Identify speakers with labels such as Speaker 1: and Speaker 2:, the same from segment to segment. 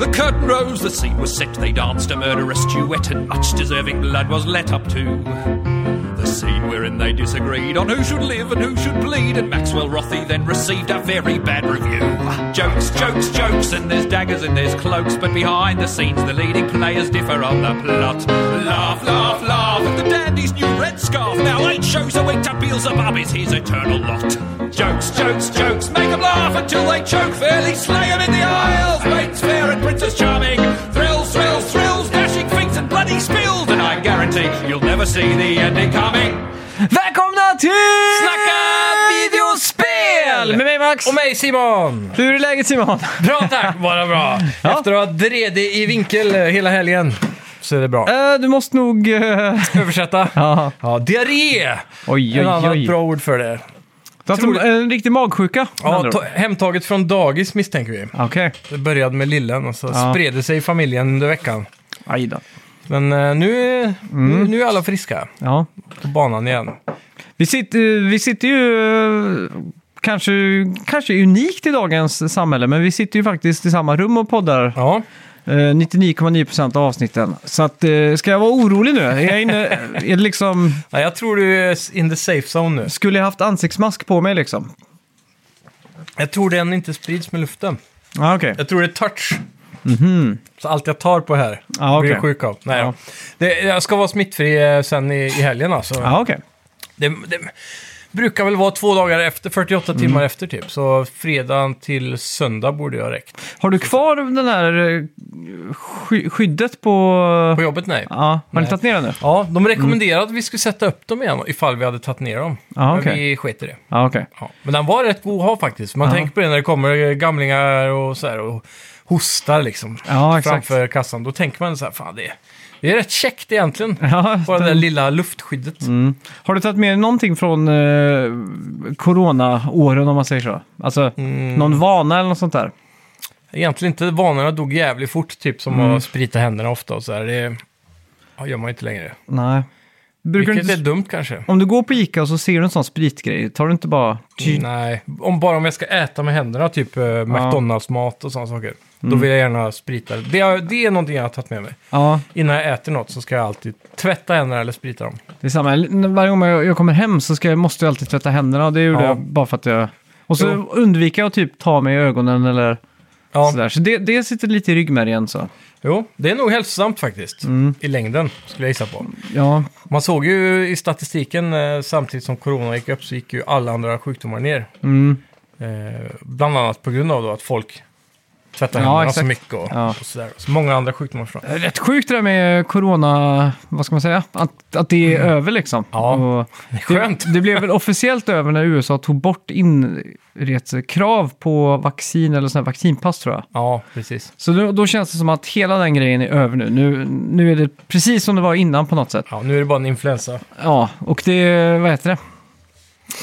Speaker 1: The curtain rose, the scene was set, they danced a murderous duet, and much deserving blood was let up too. The scene wherein they disagreed on who should live and who should bleed, and Maxwell Rothie then received a very bad review. Jokes, jokes, jokes, and there's daggers and there's cloaks, but behind the scenes the leading players differ on the plot. Laugh, laugh, laugh at the dandy's new red scarf. Now eight shows a week to Beelzebub is his eternal lot. Jokes, jokes, jokes, make 'em laugh until they choke, fairly slay 'em in the aisles. Waits fair and Princess Charming, thrills, thrills, thrills, dashing feats and bloody spills, and I guarantee you'll never see the ending coming.
Speaker 2: Välkomna till
Speaker 1: Snacka videospel!
Speaker 2: Med mig Max!
Speaker 3: Och mig Simon!
Speaker 2: Hur är läget Simon?
Speaker 3: Bra tack, bara bra.
Speaker 2: Ja.
Speaker 3: Efter att ha dredit i vinkel eh, hela helgen så är det bra.
Speaker 2: Eh, du måste nog... eh,
Speaker 3: Översätta.
Speaker 2: Ja,
Speaker 3: Ja, diarré!
Speaker 2: oj,
Speaker 3: En
Speaker 2: oj,
Speaker 3: annan
Speaker 2: oj.
Speaker 3: bra ord för det.
Speaker 2: Du har haft en, en riktig magsjuka? med andra
Speaker 3: Ja,
Speaker 2: ord.
Speaker 3: to- hemtaget från dagis misstänker vi.
Speaker 2: Okej.
Speaker 3: Det började med lillen och så
Speaker 2: Ja.
Speaker 3: spred det sig i familjen under veckan.
Speaker 2: Aj då.
Speaker 3: Men eh, nu,
Speaker 2: Mm.
Speaker 3: är- nu, nu är alla friska
Speaker 2: Ja.
Speaker 3: på banan igen.
Speaker 2: Vi sitter, vi sitter ju... eh, Kanske, kanske unikt i dagens samhälle, men vi sitter ju faktiskt i samma rum och poddar
Speaker 3: Ja,
Speaker 2: eh, 99,9% av avsnitten. Så att, eh, ska jag vara orolig nu? Är jag inne, är det liksom,
Speaker 3: Ja, jag tror du är in the safe zone nu.
Speaker 2: skulle jag haft ansiktsmask på mig liksom?
Speaker 3: Jag tror den inte sprids med luften.
Speaker 2: Ja, okej.
Speaker 3: Jag tror det är touch. Så allt jag tar på här
Speaker 2: Ja,
Speaker 3: blir
Speaker 2: Mhm. Ah, okej.
Speaker 3: jag sjuk av. Nej,
Speaker 2: Ja.
Speaker 3: det, jag ska vara smittfri eh, sen i, i helgen alltså.
Speaker 2: Ja, okej.
Speaker 3: Det, det brukar väl vara två dagar efter, 48
Speaker 2: Mm.
Speaker 3: timmar efter typ. Så fredagen till söndag borde jag ha räckt.
Speaker 2: Har du kvar den här eh, sky skyddet på...
Speaker 3: På jobbet nej.
Speaker 2: Ja, Mm. har ni
Speaker 3: Nej.
Speaker 2: tagit ner den nu?
Speaker 3: Ja, de rekommenderade att vi skulle sätta upp dem igen ifall vi hade tagit ner dem.
Speaker 2: Ja,
Speaker 3: Men
Speaker 2: okej.
Speaker 3: vi sket i det.
Speaker 2: Ja, okej.
Speaker 3: Ja. Men den var rätt god att ha faktiskt. Man
Speaker 2: Ja.
Speaker 3: tänker på det när det kommer eh, gamlingar och så här och hostar liksom.
Speaker 2: Ja, exakt.
Speaker 3: framför kassan. Då tänker man så här, fan det är, det är rätt käckt egentligen.
Speaker 2: Ja,
Speaker 3: Bara det där
Speaker 2: den-
Speaker 3: lilla luftskyddet.
Speaker 2: Mm. Har du tagit med dig någonting från eh, corona-åren om man säger så? Alltså
Speaker 3: Mm.
Speaker 2: någon vana eller något sånt där?
Speaker 3: Egentligen inte, vanorna dog jävligt fort, typ som
Speaker 2: Mm.
Speaker 3: att sprita händerna ofta och så här. Det ja, gör man ju inte längre.
Speaker 2: Nej. Brukar du
Speaker 3: Vilket
Speaker 2: inte...
Speaker 3: är dumt kanske.
Speaker 2: Om du går på Ica och så ser du en sån spritgrej, tar du inte bara... Ty...
Speaker 3: Mm, Nej, om, bara om jag ska äta med händerna, typ eh, McDonalds-mat och sådana saker. Då
Speaker 2: Mm.
Speaker 3: vill jag gärna sprita. Det är, det är någonting jag har tagit med mig.
Speaker 2: Ja,
Speaker 3: Innan jag äter något så ska jag alltid tvätta händerna eller sprita dem.
Speaker 2: det är samma. Varje gång jag jag kommer hem så ska jag, måste jag alltid tvätta händerna och det gjorde
Speaker 3: Ja.
Speaker 2: jag bara för att jag... Och så
Speaker 3: Jo.
Speaker 2: undviker jag att typ ta mig i ögonen eller
Speaker 3: Ja,
Speaker 2: sådär. Så det, det sitter lite i ryggmärgen så.
Speaker 3: jo, det är nog hälsosamt faktiskt.
Speaker 2: Mm.
Speaker 3: I längden, skulle jag gissa på.
Speaker 2: Ja,
Speaker 3: Man såg ju i statistiken, eh, samtidigt som corona gick upp, så gick ju alla andra sjukdomar ner.
Speaker 2: mm.
Speaker 3: Eh, bland annat på grund av då att folk tvättar
Speaker 2: Ja,
Speaker 3: händerna så
Speaker 2: exakt.
Speaker 3: mycket och,
Speaker 2: Ja.
Speaker 3: och sådär. Så många andra sjukdomar. Från.
Speaker 2: Eh, Rätt sjukt det där med corona, vad ska man säga, att, att det är över liksom.
Speaker 3: Ja,
Speaker 2: Och
Speaker 3: Skönt!
Speaker 2: Det, det blev väl officiellt över när USA tog bort inresekrav på vaccin eller sådana här vaccinpass tror jag.
Speaker 3: Ja, precis.
Speaker 2: Så då, då känns det som att hela den grejen är över nu. nu. Nu är det precis som det var innan på något sätt.
Speaker 3: Ja, nu är det bara en influensa.
Speaker 2: Ja, och det, vad heter det?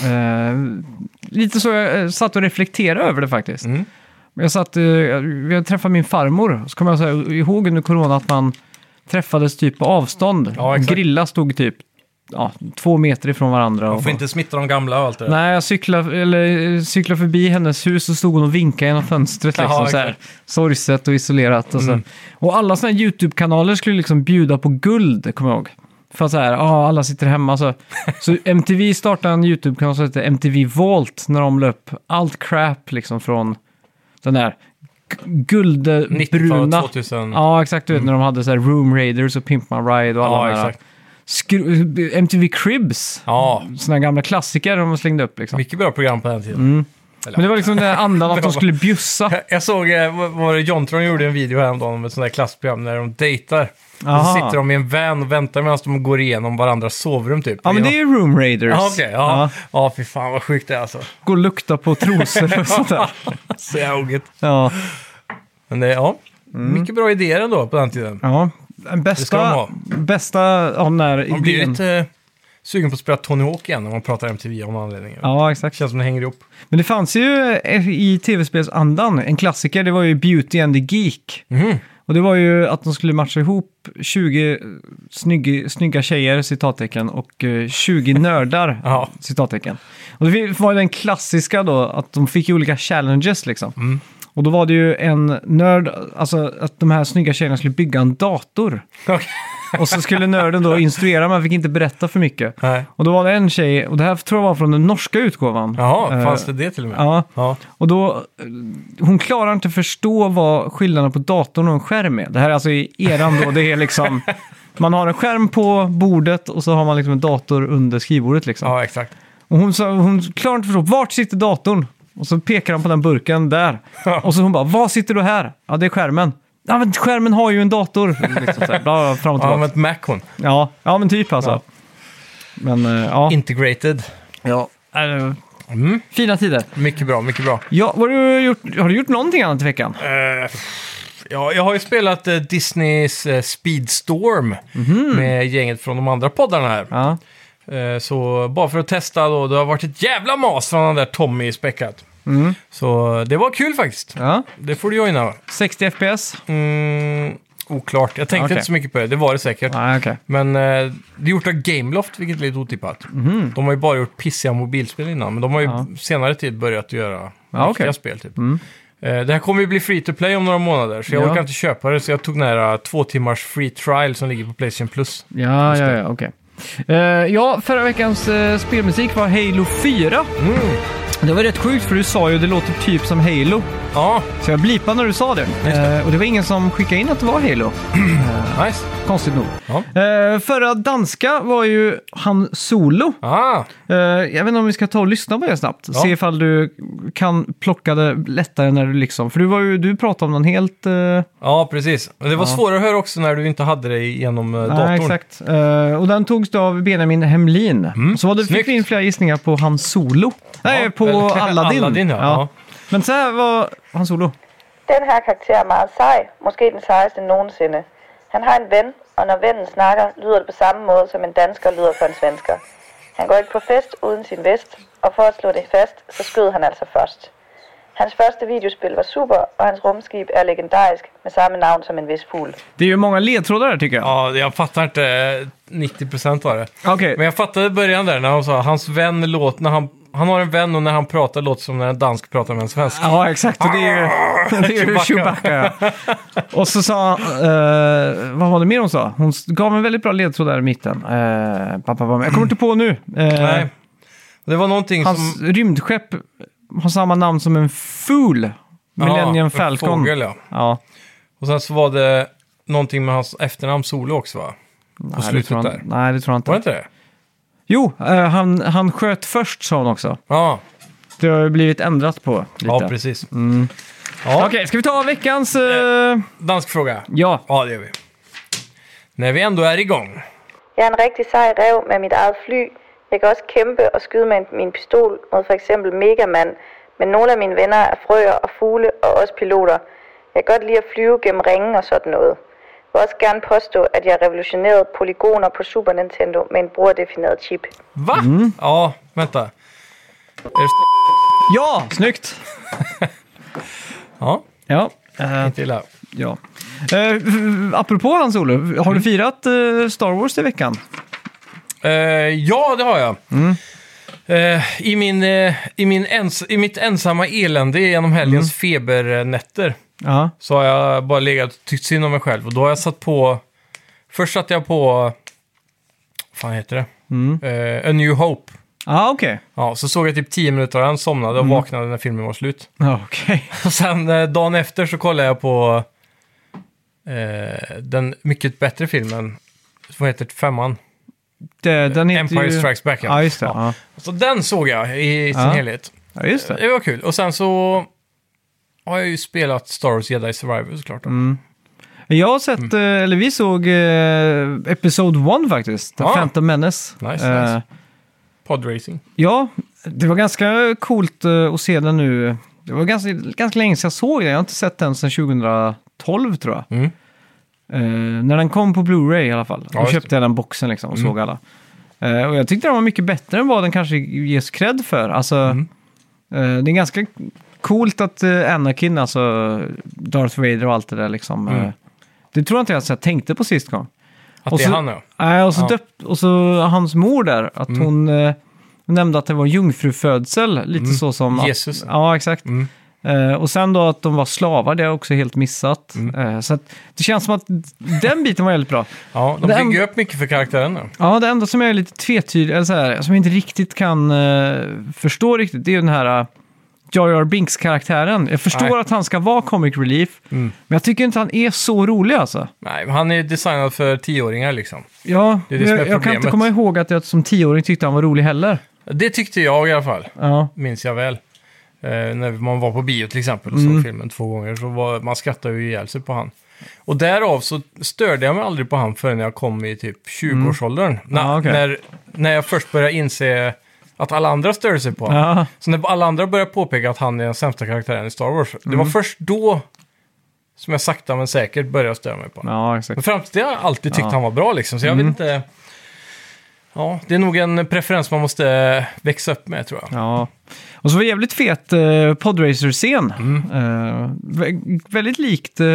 Speaker 2: Eh, lite så jag eh, satt och reflekterade över det faktiskt.
Speaker 3: Mm.
Speaker 2: Jag, satt, eh, jag jag träffade min farmor, så kommer jag så här, ihåg under corona att man träffades typ på avstånd.
Speaker 3: Ja, exakt.
Speaker 2: Grilla stod typ ja, två meter ifrån varandra.
Speaker 3: Man får inte smitta de gamla och allt det där.
Speaker 2: Nej, jag cyklade, eller, eh, cyklade förbi hennes hus och stod hon och vinkade genom fönstret.
Speaker 3: Jaha,
Speaker 2: Liksom, så här,
Speaker 3: exakt. Mm.
Speaker 2: sorgset och isolerat. Och, så. och alla sådana YouTube-kanaler skulle liksom bjuda på guld, kommer jag ihåg. För att så här, ah, alla sitter hemma. Så, så MTV startade en YouTube-kanal som hette MTV Vault när de la upp allt crap liksom från den där g-
Speaker 3: 90-talet,
Speaker 2: guldbruna...
Speaker 3: 2000.
Speaker 2: Ja, exakt. Du vet när de hade så här Room Raiders och Pimp My Ride och alla
Speaker 3: Mm. ja
Speaker 2: de här.
Speaker 3: exakt.
Speaker 2: Skru- MTV Cribs
Speaker 3: Ja,
Speaker 2: sådana gamla klassiker de slängde upp. Liksom.
Speaker 3: mycket bra program på den tiden.
Speaker 2: Mm. Men det var liksom den här andan att de skulle bjussa.
Speaker 3: Jag såg, eh, vad var det Jontron gjorde en video häromdagen om ett sånt där klassprogram när de dejtar. Och
Speaker 2: Aha.
Speaker 3: Så sitter de i en van och väntar medan de går igenom varandras sovrum typ.
Speaker 2: Ja, men det är ju Room Raiders.
Speaker 3: Ja, okej. ja. ja, fy fan vad sjukt det är alltså.
Speaker 2: Gå och lukta på trosor och sånt där.
Speaker 3: Så jävla oget.
Speaker 2: Ja,
Speaker 3: Men det, ja,
Speaker 2: Mm.
Speaker 3: mycket bra idéer ändå på den tiden.
Speaker 2: ja. Den
Speaker 3: Det ska de
Speaker 2: Bästa,
Speaker 3: ha.
Speaker 2: bästa av den här
Speaker 3: Man blir
Speaker 2: idén.
Speaker 3: lite eh, sugen på att spela Tony Hawk igen när man pratar MTV av någon anledning.
Speaker 2: Ja, exakt.
Speaker 3: Känns som det hänger ihop.
Speaker 2: Men det fanns ju eh, i tv-spelsandan en klassiker, det var ju Beauty and the Geek.
Speaker 3: Mhm.
Speaker 2: Och det var ju att de skulle matcha ihop 20 snygga, snygga tjejer, citattecken, och eh, 20 nördar,
Speaker 3: Ja. Mm.
Speaker 2: citattecken. Och det var ju den klassiska då, att de fick ju olika challenges liksom. Och då var det ju en nörd, alltså att de här snygga tjejerna skulle bygga en dator.
Speaker 3: Okej.
Speaker 2: Och så skulle nörden då instruera, man fick inte berätta för mycket.
Speaker 3: Nej.
Speaker 2: Och då var det en tjej, och det här tror jag var från den norska utgåvan.
Speaker 3: Jaha,
Speaker 2: Eh,
Speaker 3: fanns det det till och med?
Speaker 2: Ja,
Speaker 3: Ja.
Speaker 2: och då, eh, hon klarar inte förstå vad skillnaden på datorn och en skärm är. Det här är alltså i eran då, det är liksom, man har en skärm på bordet och så har man liksom en dator under skrivbordet liksom.
Speaker 3: ja, exakt.
Speaker 2: Och hon, sa, hon klarar inte förstå, vart sitter datorn? Och så pekar han på den burken där. Och så hon bara, vad sitter du här? Ja, det är skärmen. Ja, men skärmen har ju en dator. Liksom så här, bla, bla, fram och
Speaker 3: Ja,
Speaker 2: tillbaka.
Speaker 3: men ett Mac hon.
Speaker 2: Ja, ja, men typ alltså.
Speaker 3: Ja.
Speaker 2: Men eh, ja.
Speaker 3: Integrated.
Speaker 2: ja. eh,
Speaker 3: Mm.
Speaker 2: Fina tider.
Speaker 3: Mycket bra, mycket bra.
Speaker 2: Ja, vad har, du gjort, har du gjort någonting annat i veckan?
Speaker 3: Eh, ja, jag har ju spelat eh, Disneys eh, Speedstorm med gänget från de andra poddarna här.
Speaker 2: Mhm. Ja.
Speaker 3: Eh, så bara för att testa då, det har varit ett jävla mas från den där Tommy i späckat. Så det var kul faktiskt.
Speaker 2: Mm. ja.
Speaker 3: Det får du joina.
Speaker 2: 60 FPS?
Speaker 3: Mm, oklart, jag tänkte
Speaker 2: Okej.
Speaker 3: inte så mycket på det. Det var det säkert.
Speaker 2: Nej, Ah, okej.
Speaker 3: Men eh, det är gjort av Gameloft, vilket är lite otippat. De har ju bara gjort pissiga mobilspel innan, men de har ju
Speaker 2: Mhm. Ja.
Speaker 3: senare tid börjat göra
Speaker 2: Ja,
Speaker 3: riktiga
Speaker 2: okej. Mm.
Speaker 3: spel. Typ. Eh, det här kommer ju bli free to play om några månader, så jag
Speaker 2: Ja.
Speaker 3: orkar inte köpa det. Så jag tog nära två timmars free trial som ligger på Playstation Plus.
Speaker 2: Ja, ja, ja, okej. Eh, ja, förra veckans eh, spelmusik var Halo 4.
Speaker 3: Mm.
Speaker 2: Det var rätt sjukt för du sa ju det låter typ som Halo.
Speaker 3: Ja,
Speaker 2: Så jag blipade när du sa det. Eh, och det var ingen som skickade in att det var Halo.
Speaker 3: nice.
Speaker 2: Konstigt nog.
Speaker 3: Ja.
Speaker 2: Eh, förra danska var ju han Solo.
Speaker 3: Ah,
Speaker 2: Eh, jag vet inte om vi ska ta och lyssna på det snabbt. Se ifall du kan plocka det lättare när du liksom... För du, var ju, du pratade om någon helt... eh,
Speaker 3: ja, precis. Men det var svårare att höra också när du inte hade det genom eh, datorn.
Speaker 2: nej, exakt. Eh, och den togs då av Benjamin Hemlin. Så var det, fick
Speaker 3: Mm. snyggt.
Speaker 2: vi in flera gissningar på han Solo. Nej, på
Speaker 3: eller-
Speaker 2: Aladdin.
Speaker 3: Aladdin, ja. Ja.
Speaker 2: Men så här var han Solo.
Speaker 4: Den her karakter er meget sej, måske den sejeste nogensinde. Han har en ven, og når vennen snakker, lyder det på samme måde, som en dansker lyder for en svensker. Han går ikke på fest uden sin vest, og for at slå det fast, så skød han altså først. Hans første videospil var super, og hans rumskib er legendarisk med samme navn som en vis fugl.
Speaker 2: Det är ju många ledtrådar där tycker jag.
Speaker 3: Ja, jag fattar inte eh, 90% av det.
Speaker 2: Okej,
Speaker 3: Men jag fattade i början där när han sa hans vän låter, när han, han har en vän och när han pratar låter som när en dansk pratar med en svensk.
Speaker 2: Ja, exakt. Och det är ju, det är ju
Speaker 3: Chewbacca.
Speaker 2: Chewbacca. ja. Och så sa eh, vad var det mer hon sa? Hon s- gav en väldigt bra ledtråd där i mitten. Eh, pa, pa, pa, men jag kommer inte på nu. Eh,
Speaker 3: Nej. Det var någonting
Speaker 2: Hans
Speaker 3: som...
Speaker 2: rymdskepp har samma namn som en ful. Millennium
Speaker 3: en
Speaker 2: Falcon.
Speaker 3: Fågel, ja.
Speaker 2: Ja,
Speaker 3: Och sen så var det någonting med hans efternamn Solo också va? På
Speaker 2: nej, det
Speaker 3: slutet
Speaker 2: tror han,
Speaker 3: där.
Speaker 2: nej, det tror jag
Speaker 3: Var det
Speaker 2: inte.
Speaker 3: inte det?
Speaker 2: Jo, eh, han, han sköt först sa hon också.
Speaker 3: Ja,
Speaker 2: Det har ju blivit ändrat på lite. Mm.
Speaker 3: ja precis. Ja,
Speaker 2: Okej, ska vi ta veckans... eh,
Speaker 3: dansk fråga.
Speaker 2: ja,
Speaker 3: Ja, det gör vi. När vi ändå är igång.
Speaker 4: Jeg er en rigtig sej rev med mit eget fly. Jeg kan også kæmpe og skyde med min pistol mod for eksempel Megaman, men nogle af mine venner er frøer og fugle og også piloter. Jeg kan godt lide at flyve gennem ringen og sådan noget. Jeg vil også gerne påstå, at jeg revolutionerede polygoner på Super Nintendo med en brugerdefineret chip.
Speaker 3: Va? Mm. Ja, vänta. Är det st-
Speaker 2: ja, snyggt!
Speaker 3: Ja,
Speaker 2: Ja. eh,
Speaker 3: inte illa.
Speaker 2: Ja. Eh, apropå Hans Olof,
Speaker 3: Mm.
Speaker 2: har du firat eh, Star Wars i veckan?
Speaker 3: Eh, ja, det har jag. Eh, i, min, eh, i, min ens, I mitt ensamma elände genom helgens
Speaker 2: Mm.
Speaker 3: febernätter
Speaker 2: Ja.
Speaker 3: så har jag bara legat och tyckt synd om mig själv. Och då har jag satt på... Först satte jag på... Vad fan heter det?
Speaker 2: Mm.
Speaker 3: Eh, A New Hope.
Speaker 2: Ja, okej.
Speaker 3: Ja, så såg jag typ 10 minuter av den, somnade
Speaker 2: Mm.
Speaker 3: och vaknade när filmen var slut.
Speaker 2: Ja, okej.
Speaker 3: Och sen eh, dagen efter så kollade jag på eh, den mycket bättre filmen. Vad heter det? Femman?
Speaker 2: Det- Den heter
Speaker 3: Empire
Speaker 2: ju...
Speaker 3: Strikes Back.
Speaker 2: Ja, just det. Ja.
Speaker 3: Så den såg jag i sin
Speaker 2: Ja.
Speaker 3: helhet.
Speaker 2: Ja, just det.
Speaker 3: Det var kul. Och sen så har jag ju spelat Star Wars Jedi Survivor såklart. då.
Speaker 2: Mm. Jag har
Speaker 3: Mm.
Speaker 2: sett, eh, eller vi såg eh, Episode 1 faktiskt, The
Speaker 3: Ja.
Speaker 2: Phantom Menace.
Speaker 3: Nice,
Speaker 2: Eh,
Speaker 3: nice. Podracing.
Speaker 2: Ja, det var ganska coolt eh, att se den nu. Det var ganska, ganska länge sedan jag såg den, jag har inte sett den sedan 2012 tror jag.
Speaker 3: Mm.
Speaker 2: Eh, när den kom på Blu-ray i alla fall. då
Speaker 3: Ja, just Mm.
Speaker 2: köpte jag den boxen liksom och såg alla. Eh, och jag tyckte den var mycket bättre än vad den kanske ges cred för. Alltså,
Speaker 3: Mm.
Speaker 2: eh, det är ganska coolt att eh, Anakin, alltså Darth Vader och allt det där liksom.
Speaker 3: Mm.
Speaker 2: eh, det tror jag inte jag så här tänkte på sist gång.
Speaker 3: Att
Speaker 2: Och
Speaker 3: det är
Speaker 2: så-
Speaker 3: han ja.
Speaker 2: Nej, och så,
Speaker 3: Ja. Mm.
Speaker 2: döpt, och så hans mor där, att hon eh, nämnde att det var jungfrufödsel, lite så som...
Speaker 3: Mm. Jesus.
Speaker 2: Att, ja, exakt.
Speaker 3: Mm.
Speaker 2: Eh, och sen då att de var slavar, det har jag också helt missat.
Speaker 3: Mm.
Speaker 2: Eh, så att, det känns som att den biten var väldigt bra.
Speaker 3: Ja, de
Speaker 2: Det en-
Speaker 3: bygger upp mycket för karaktärerna.
Speaker 2: Ja, det enda som jag är lite tvetydig, eller så här, som jag inte riktigt kan eh, förstå riktigt, det är ju den här eh, Jar.R. Binks-karaktären. Jag förstår
Speaker 3: Nej. Mm.
Speaker 2: att han ska vara comic relief, men jag tycker inte han är så rolig alltså.
Speaker 3: Nej, han är designad för tioåringar liksom.
Speaker 2: Ja,
Speaker 3: är det som är
Speaker 2: jag, jag kan inte
Speaker 3: problemet.
Speaker 2: komma ihåg att jag som tioåring tyckte han var rolig heller.
Speaker 3: Det tyckte jag i alla fall,
Speaker 2: Ja,
Speaker 3: minns jag väl. Eh, när man var på bio till exempel och
Speaker 2: Mm.
Speaker 3: såg filmen två gånger så var, man skrattade ju ihjäl sig på han. Och därav så störde jag mig aldrig på han förrän jag kom i typ 20-årsåldern.
Speaker 2: Ja,
Speaker 3: När,
Speaker 2: Mm. Ah, okej.
Speaker 3: när, när jag först började inse att alla andra störde sig på honom.
Speaker 2: ja.
Speaker 3: Så när alla andra började påpeka att han är den sämsta karaktären i Star Wars, det
Speaker 2: Mm.
Speaker 3: var först då som jag sakta men säkert började störa mig på honom.
Speaker 2: ja exakt.
Speaker 3: Men fram till det har jag alltid tyckt
Speaker 2: Ja. Mm.
Speaker 3: han var bra liksom, så jag vet inte... Ja, det är nog en preferens man måste eh, växa upp med tror jag.
Speaker 2: Ja. Och så var det jävligt fet eh, podracer-scen.
Speaker 3: Mm.
Speaker 2: Eh, vä- väldigt likt eh,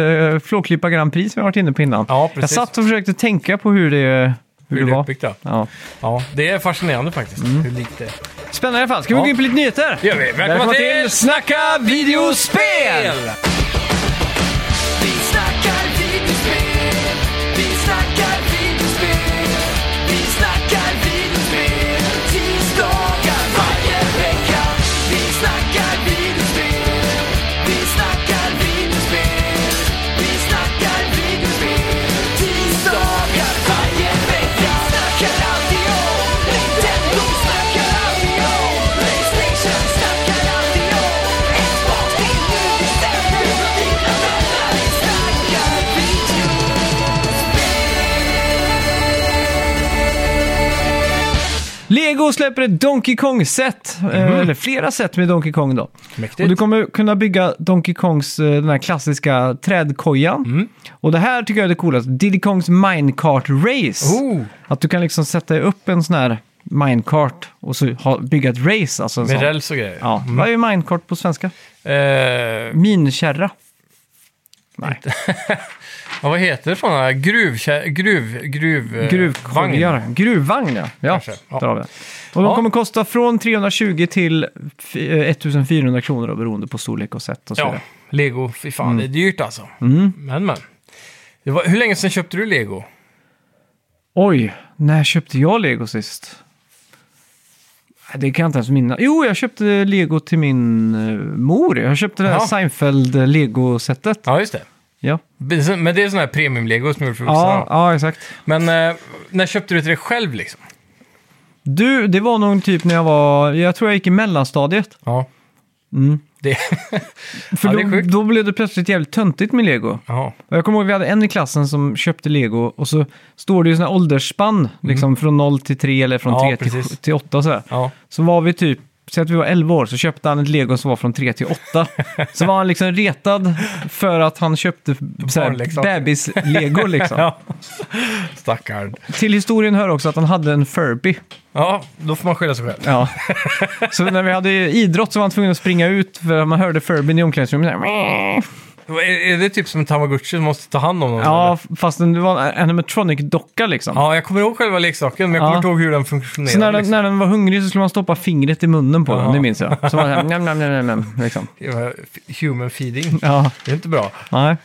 Speaker 2: Flåklippa Grand Prix som jag varit inne på innan.
Speaker 3: Ja, precis.
Speaker 2: jag satt och försökte tänka på hur det, hur
Speaker 3: Hur
Speaker 2: det
Speaker 3: det är
Speaker 2: var.
Speaker 3: uppbyggt, ja.
Speaker 2: Ja.
Speaker 3: ja. Det är fascinerande faktiskt,
Speaker 2: Mm.
Speaker 3: hur likt det är.
Speaker 2: Spännande i alla fall. Ska vi
Speaker 3: Ja.
Speaker 2: gå in på lite nyheter?
Speaker 3: Det gör vi. Välkomna, till
Speaker 2: Snacka videospel!
Speaker 5: Vi snackar videospel, vi snackar videospel, vi snackar videospel, tisdagar varje vecka. Vi snackar videospel, vi snackar videospel, vi snackar videospel, tisdagar varje vecka. Snackar alltid om Nintendo, snackar alltid om Playstation, snackar alltid om Xbox, det är nu vi stämmer och dina vänner. Vi snackar videospel.
Speaker 2: Lego släpper ett Donkey Kong-set, eh, eller flera set med Donkey Kong då.
Speaker 3: Mhm. Mäktigt.
Speaker 2: Och du kommer kunna bygga Donkey Kongs, eh, den här klassiska trädkojan.
Speaker 3: Mm.
Speaker 2: Och det här tycker jag är det coolaste, Diddy Kongs Minecart Race.
Speaker 3: Oh,
Speaker 2: Att du kan liksom sätta upp en sån här minecart och så ha, bygga ett race. Alltså en
Speaker 3: med
Speaker 2: sån.
Speaker 3: räls Mm. och grejer.
Speaker 2: Ja. Vad är minecart på svenska?
Speaker 3: Eh,
Speaker 2: Minkärra. Nej,
Speaker 3: ja, vad heter det sådana? Gruv... Gruv... Gruv... eh, vagn.
Speaker 2: gruvkorgar. Gruvvagn ja. ja,
Speaker 3: Kanske, ja.
Speaker 2: Där har vi. den. Och de
Speaker 3: Ja.
Speaker 2: kommer kosta från 320 till f- eh, 1400 kronor då, beroende på storlek och sätt och så
Speaker 3: Ja,
Speaker 2: vidare.
Speaker 3: Lego. Fy
Speaker 2: Mm.
Speaker 3: fan, det är dyrt alltså. Men, men. Det var, hur länge sedan köpte du Lego?
Speaker 2: Oj, när köpte jag lego sist? Det kan jag inte ens minnas. Jo, jag köpte lego till min eh, mor. Jag köpte det här
Speaker 3: Ja.
Speaker 2: Seinfeld-lego-setet.
Speaker 3: Ja, just det.
Speaker 2: Ja.
Speaker 3: Men det är sån här premium-lego som är gjord för
Speaker 2: Ja,
Speaker 3: vuxna.
Speaker 2: ja, exakt.
Speaker 3: Men eh, när köpte du till dig själv liksom?
Speaker 2: Du, det var nog typ när jag var, jag tror jag gick i mellanstadiet.
Speaker 3: Ja. Det...
Speaker 2: För
Speaker 3: Ja, det är
Speaker 2: då,
Speaker 3: sjukt.
Speaker 2: då blev det plötsligt jävligt töntigt med lego.
Speaker 3: ja.
Speaker 2: Och jag kommer ihåg vi hade en i klassen som köpte lego och så står det ju sådana här åldersspann, liksom från 0 till 3 eller från
Speaker 3: Mm. Ja,
Speaker 2: 3 till,
Speaker 3: precis.
Speaker 2: till 8 och sådär.
Speaker 3: ja.
Speaker 2: Så var vi typ, säg att vi var 11 år, så köpte han ett lego som var från 3 till 8. så var han liksom retad för att han köpte så här,
Speaker 3: Barnleksaker.
Speaker 2: bebis-lego liksom.
Speaker 3: Ja. Stackarn.
Speaker 2: Till historien hör också att han hade en Furby.
Speaker 3: Ja, då får man skylla sig själv.
Speaker 2: Ja. Så när vi hade idrott så var han tvungen att springa ut för man hörde Furbyn i omklädningsrummet. så här,
Speaker 3: Är, är det typ som en tamagotchi som måste ta hand om någon?
Speaker 2: Ja, fast det var en animatronic-docka liksom.
Speaker 3: ja, jag kommer ihåg själva leksaken, men jag kommer
Speaker 2: Ja.
Speaker 3: inte ihåg hur den funktionerar.
Speaker 2: Så när den,
Speaker 3: liksom.
Speaker 2: när den var hungrig så skulle man stoppa fingret i munnen på den,
Speaker 3: Ja.
Speaker 2: det minns jag. Så var det så här, nam, nam, nam, nam, nam, liksom.
Speaker 3: Det var Human feeding.
Speaker 2: Ja,
Speaker 3: Det är inte bra.
Speaker 2: nej.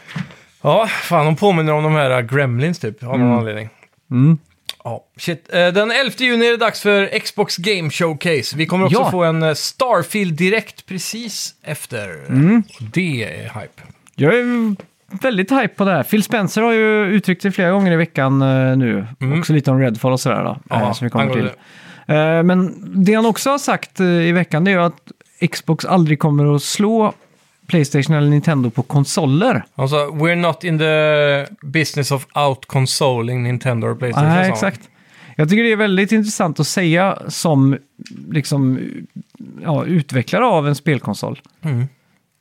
Speaker 3: Ja, fan, de påminner om de här Gremlins typ, av någon anledning.
Speaker 2: Mm.
Speaker 3: Ja, shit. Eh, Den 11 juni är det dags för Xbox Game Showcase. Vi kommer också
Speaker 2: Ja.
Speaker 3: få en eh, Starfield direkt precis efter.
Speaker 2: Mm.
Speaker 3: Och Det är hype.
Speaker 2: Jag är väldigt hype på det här. Phil Spencer har ju uttryckt sig flera gånger i veckan eh, nu. Också lite om Redfall och sådär då,
Speaker 3: Mm. Ja,
Speaker 2: eh, som vi kommer till.
Speaker 3: angående
Speaker 2: Eh, men det han också har sagt eh, i veckan det är ju att Xbox aldrig kommer att slå Playstation eller Nintendo på konsoler.
Speaker 3: Han sa Alltså, “We're not in the business of out-consoling Nintendo or Playstation”. sa
Speaker 2: Nej,
Speaker 3: han.
Speaker 2: exakt. Jag tycker det är väldigt intressant att säga som liksom, ja, utvecklare av en spelkonsol.
Speaker 3: Mm.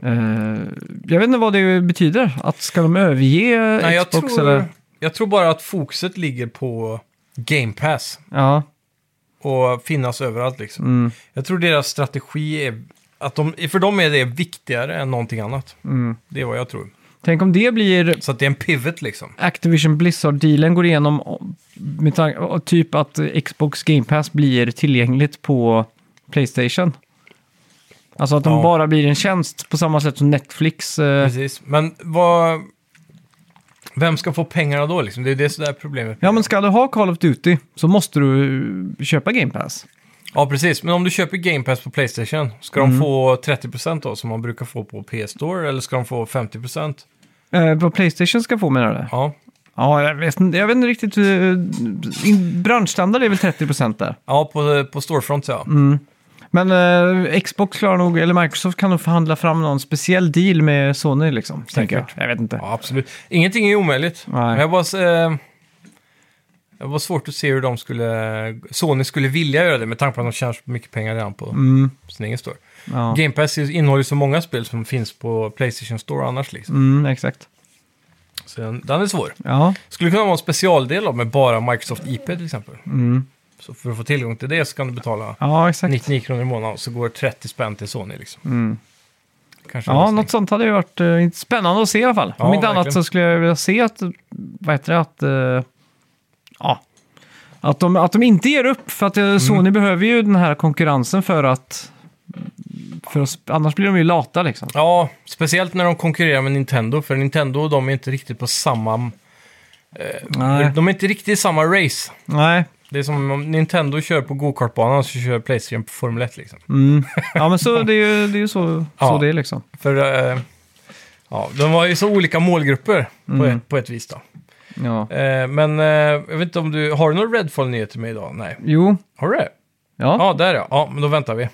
Speaker 2: Eh, jag vet inte vad det betyder. Att ska de överge
Speaker 3: Nej, jag,
Speaker 2: Xbox
Speaker 3: tror,
Speaker 2: eller?
Speaker 3: jag tror bara att fokuset ligger på Game Pass
Speaker 2: Ja,
Speaker 3: och finnas överallt liksom.
Speaker 2: mm,
Speaker 3: Jag tror deras strategi är att de, för dem är det viktigare än någonting annat.
Speaker 2: mm.
Speaker 3: Det är vad jag tror.
Speaker 2: Tänk om det blir
Speaker 3: Så att det är en pivot liksom.
Speaker 2: Activision Blizzard-dealen går igenom med tanke, och typ att Xbox Game Pass blir tillgängligt på Playstation. Alltså att de
Speaker 3: Ja.
Speaker 2: bara blir en tjänst på samma sätt som Netflix. Eh,
Speaker 3: Precis. Men vad... Vem ska få pengarna då liksom? Det är det som är problemet.
Speaker 2: ja, men ska du ha Call of Duty så måste du eh, köpa Game Pass.
Speaker 3: Ja, precis. Men om du köper Game Pass på Playstation, ska
Speaker 2: Mm.
Speaker 3: de få 30% då som man brukar få på PS Store? Eller ska de få 50%?
Speaker 2: Eh, vad Playstation ska få menar du?
Speaker 3: Ja,
Speaker 2: Ja, jag vet, inte- jag vet inte riktigt. eh, in- Branschstandard är väl 30% där.
Speaker 3: ja på, på Storefront ja.
Speaker 2: Men eh, Xbox klarar nog, eller Microsoft kan nog förhandla fram någon speciell deal med Sony liksom. Tänker jag.
Speaker 3: Säkert.
Speaker 2: jag vet inte.
Speaker 3: ja. Absolut. Ingenting är omöjligt.
Speaker 2: Nej.
Speaker 3: Men jag bara... Eh, det var svårt att se hur de skulle... Sony skulle vilja göra det med tanke på att de tjänar så mycket pengar redan på
Speaker 2: Mm,
Speaker 3: sin egen store.
Speaker 2: ja.
Speaker 3: Game Pass innehåller ju så många spel som finns på Playstation Store annars liksom.
Speaker 2: mm, exakt.
Speaker 3: Så den, den är svår.
Speaker 2: Ja,
Speaker 3: Skulle kunna vara en specialdel då, med bara Microsoft IP till exempel.
Speaker 2: mm.
Speaker 3: Så för att få tillgång till det så kan du betala
Speaker 2: ja exakt.
Speaker 3: 99 kronor i månaden och så går 30 spänn till Sony liksom.
Speaker 2: Mm.
Speaker 3: Kanske en
Speaker 2: Ja,
Speaker 3: lösning.
Speaker 2: något sånt hade ju varit eh, spännande att se i alla fall. Om
Speaker 3: Ja,
Speaker 2: inte annat
Speaker 3: verkligen.
Speaker 2: så skulle jag vilja se att, vad heter det, att, eh, ja, att, de, att de inte ger upp. För att
Speaker 3: Mm.
Speaker 2: eh, Sony behöver ju den här konkurrensen för att, för att, sp- annars blir de ju lata liksom.
Speaker 3: Ja, speciellt när de konkurrerar med Nintendo, för Nintendo och de är inte riktigt på samma...
Speaker 2: Nej,
Speaker 3: De är inte riktigt i samma race.
Speaker 2: nej.
Speaker 3: Det är som om Nintendo kör på gokartbanan så kör Playstation på Formel 1 liksom.
Speaker 2: Mm. Ja, men så det är ju, det är ju så, så
Speaker 3: Ja.
Speaker 2: det är liksom.
Speaker 3: För eh, ja, de var ju så olika målgrupper på,
Speaker 2: Mm.
Speaker 3: ett, på ett vis då.
Speaker 2: Ja.
Speaker 3: Eh, men eh, jag vet inte om du, har du några Redfall-nyheter med idag? Nej.
Speaker 2: Jo,
Speaker 3: Har du det?
Speaker 2: ja. Mm.
Speaker 3: Ja, där ja. Ja, men då väntar vi.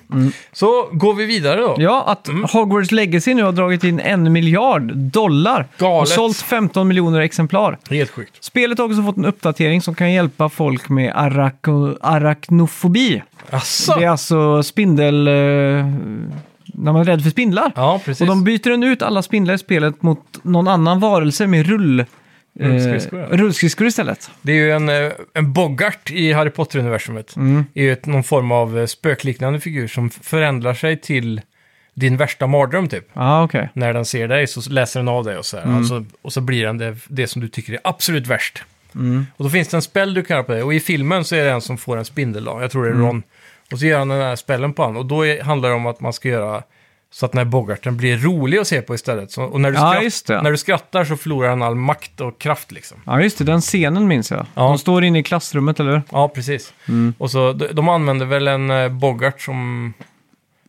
Speaker 3: Så går vi vidare då.
Speaker 2: Ja, att
Speaker 3: Mm.
Speaker 2: Hogwarts Legacy nu har dragit in en miljard dollar och
Speaker 3: Galet.
Speaker 2: sålt 15 miljoner exemplar.
Speaker 3: Helt sjukt.
Speaker 2: Spelet har också fått en uppdatering som kan hjälpa folk med arako- arachnofobi.
Speaker 3: Asså?
Speaker 2: Det är alltså spindel... eh, När man är rädd för spindlar.
Speaker 3: Ja, precis.
Speaker 2: och de byter den ut alla spindlar i spelet mot någon annan varelse med rull... eh,
Speaker 3: Rullskridskor, ja.
Speaker 2: rullskridskor istället.
Speaker 3: Det är ju en, eh, en Bogart i Harry Potter-universumet.
Speaker 2: Mm.
Speaker 3: Det är ju ett, någon form av eh, spökliknande figur som f- förändrar sig till din värsta mardröm typ.
Speaker 2: ah, okej.
Speaker 3: När den ser dig så läser den av dig och så,
Speaker 2: Mm.
Speaker 3: här. Alltså, och så blir den det, det som du tycker är absolut värst.
Speaker 2: Mm.
Speaker 3: Och då finns det en spell du kan göra på det. Och i filmen så är det en som får en spindel då. Jag tror det
Speaker 2: Mm.
Speaker 3: är Ron. Och så gör han den här spellen på honom. Och då är, handlar det om att man ska göra så att den här Bogarten blir rolig att se på istället. Så, och när du,
Speaker 2: Ja,
Speaker 3: skratt,
Speaker 2: just det.
Speaker 3: när du skrattar så förlorar han all makt och kraft liksom.
Speaker 2: Ja, just det. Den scenen minns jag.
Speaker 3: Ja.
Speaker 2: De står inne i klassrummet, eller hur?
Speaker 3: Ja, precis.
Speaker 2: Mm.
Speaker 3: Och så, de, de använder väl en eh, Bogart som...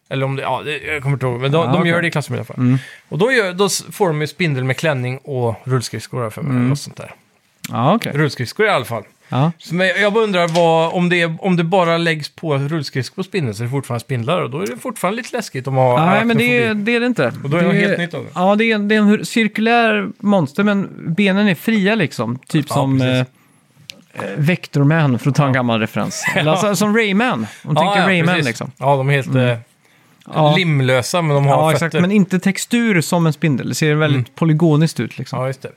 Speaker 3: Eller om det, ja, det, jag kommer inte ihåg, men de,
Speaker 2: Ja,
Speaker 3: de
Speaker 2: okej. Mm.
Speaker 3: gör det i klassrummet i alla fall. Och då, gör, då s- får de ju spindel med klänning och rullskridskor har jag för mig,
Speaker 2: Mm.
Speaker 3: eller något sånt där.
Speaker 2: Ja, okej.
Speaker 3: Rullskridskor i alla fall.
Speaker 2: Ja.
Speaker 3: Så, men jag bara undrar vad, om, det, är- om det bara läggs på rullskridskor på spindeln så är det fortfarande spindlar och då är det fortfarande lite läskigt om man har
Speaker 2: Nej, men det, är-
Speaker 3: arachnofobi.
Speaker 2: det är det inte.
Speaker 3: Och då är det något helt nytt av det.
Speaker 2: Ja, det är, det är en hur- cirkulär monster, men benen är fria liksom. Typ
Speaker 3: Ja,
Speaker 2: som eh,
Speaker 3: precis.
Speaker 2: eh, Vectorman, för att ta en gammal referens. Eller alltså, som Rayman, om du tänker Rayman
Speaker 3: precis.
Speaker 2: liksom.
Speaker 3: Ja, de är helt eh,
Speaker 2: Ja.
Speaker 3: limlösa men de har
Speaker 2: Ja,
Speaker 3: fötter. Mm.
Speaker 2: exakt. Men inte textur som en spindel. Det ser väldigt polygoniskt ut liksom.
Speaker 3: Ja, just det.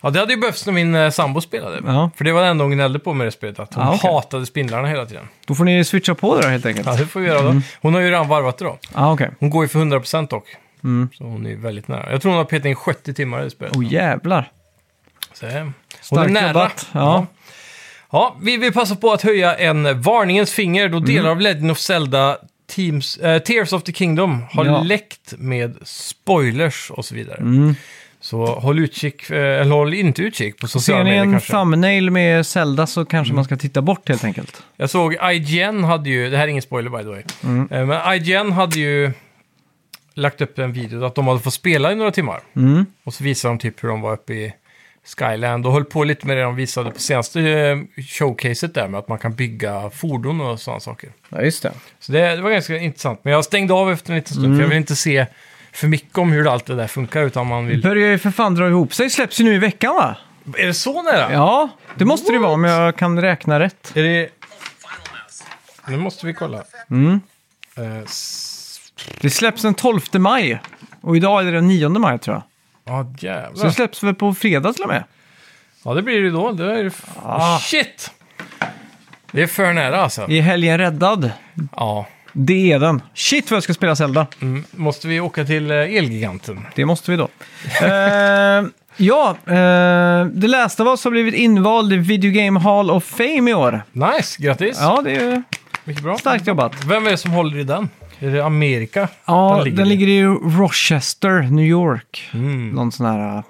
Speaker 3: Ja, det hade ju behövts när min eh, sambo spelade.
Speaker 2: Ja.
Speaker 3: För det var det enda hon gnällde på med det spelet, att hon
Speaker 2: Ja, okej.
Speaker 3: hatade spindlarna hela tiden.
Speaker 2: Då får ni switcha på det då helt enkelt.
Speaker 3: Ja,
Speaker 2: Ja,
Speaker 3: det får vi göra då.
Speaker 2: Mm.
Speaker 3: Hon har ju redan varvat det då.
Speaker 2: okej.
Speaker 3: Hon går ju för 100% dock.
Speaker 2: Mm.
Speaker 3: Så hon är ju väldigt nära. Jag tror hon har petat in 70 timmar i det spelet.
Speaker 2: Åh oh, jävlar.
Speaker 3: Så, eh, hon är
Speaker 2: Starkt
Speaker 3: nära.
Speaker 2: jobbat. Ja.
Speaker 3: Ja, vi vill passa på att höja en eh, varningens finger
Speaker 2: Mm.
Speaker 3: då delar av Legend of Zelda Teams, eh, Tears of the Kingdom har
Speaker 2: Ja. Mm.
Speaker 3: läckt med spoilers och så vidare. Så håll utkik, eh, eller håll inte utkik på
Speaker 2: Ser
Speaker 3: sociala
Speaker 2: ni
Speaker 3: medier
Speaker 2: en
Speaker 3: kanske. Mm.
Speaker 2: thumbnail med Zelda så kanske man ska titta bort helt enkelt.
Speaker 3: Jag såg IGN hade ju, det här är ingen spoiler by the way,
Speaker 2: Mm.
Speaker 3: Eh, men IGN hade ju lagt upp en video att de hade fått spela i några timmar.
Speaker 2: Mm.
Speaker 3: Och så visade de typ hur de var uppe i Skyland och höll på lite med det de visade på senaste eh, showcaset där med att man kan bygga fordon och sådana saker.
Speaker 2: Ja, just det.
Speaker 3: Så det, det var ganska intressant, men jag stängde av efter en liten stund
Speaker 2: Mm.
Speaker 3: för jag vill inte se för mycket om hur allt det där funkar utan man vill...
Speaker 2: Börjar ju för fan dra ihop sig. Släpps ju nu i veckan va?
Speaker 3: Är det så nära?
Speaker 2: Ja, det måste det vara om jag kan räkna rätt.
Speaker 3: Är det... Nu måste vi kolla.
Speaker 2: Mm.
Speaker 3: Eh, s-
Speaker 2: Det släpps den 12 maj. Och idag är det den 9 maj tror jag.
Speaker 3: Ja,
Speaker 2: Så det
Speaker 3: jävlar.
Speaker 2: släpps väl på fredag till och med.
Speaker 3: Ja, det blir det då. Det är...
Speaker 2: Ah.
Speaker 3: Shit! Det är för nära alltså.
Speaker 2: I helgen räddad.
Speaker 3: Ja.
Speaker 2: Det är den. Shit vad jag ska spela Zelda.
Speaker 3: Mm. Måste vi åka till eh, Elgiganten?
Speaker 2: Det måste vi då. Eh, ja, eh, The Last of Us har blivit invald i Video Game Hall of Fame i år.
Speaker 3: Nice, grattis!
Speaker 2: Ja, det är ju
Speaker 3: Mycket bra.
Speaker 2: starkt jobbat.
Speaker 3: Vem är det som håller i den? Är det Amerika?
Speaker 2: Ja,
Speaker 3: Den
Speaker 2: den
Speaker 3: ligger
Speaker 2: ligger,
Speaker 3: i-
Speaker 2: i Rochester, New York.
Speaker 3: Mm.
Speaker 2: Någon sån här... äh,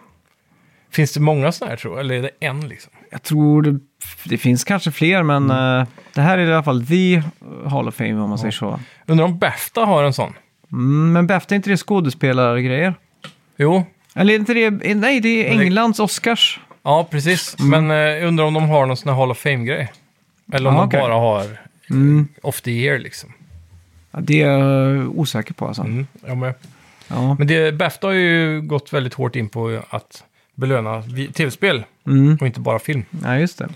Speaker 3: Finns det många sådana här tror jag? Eller är det en liksom?
Speaker 2: Jag tror det, det finns kanske fler, men
Speaker 3: Mm.
Speaker 2: äh, det här är i alla fall the Hall of Fame om man säger så.
Speaker 3: Undrar om Bafta har en sån?
Speaker 2: Mm, men Bafta är inte det skådespelargrejer?
Speaker 3: Jo,
Speaker 2: Eller är inte det... eh, Nej, det är
Speaker 3: Men det-
Speaker 2: Englands Oscars.
Speaker 3: ja precis. Men eh, jag undrar om de har någon sån här Hall of Fame-grej? Eller om
Speaker 2: Mm. Ja,
Speaker 3: de
Speaker 2: okej.
Speaker 3: bara har eh,
Speaker 2: Mm.
Speaker 3: off the year liksom.
Speaker 2: Ja, det är jag osäker på alltså.
Speaker 3: Mm. Ja, men
Speaker 2: Ja.
Speaker 3: men det, Bafta har ju gått väldigt hårt in på att belöna vi- tv-spel
Speaker 2: Mm.
Speaker 3: och inte bara film.
Speaker 2: ja, just det.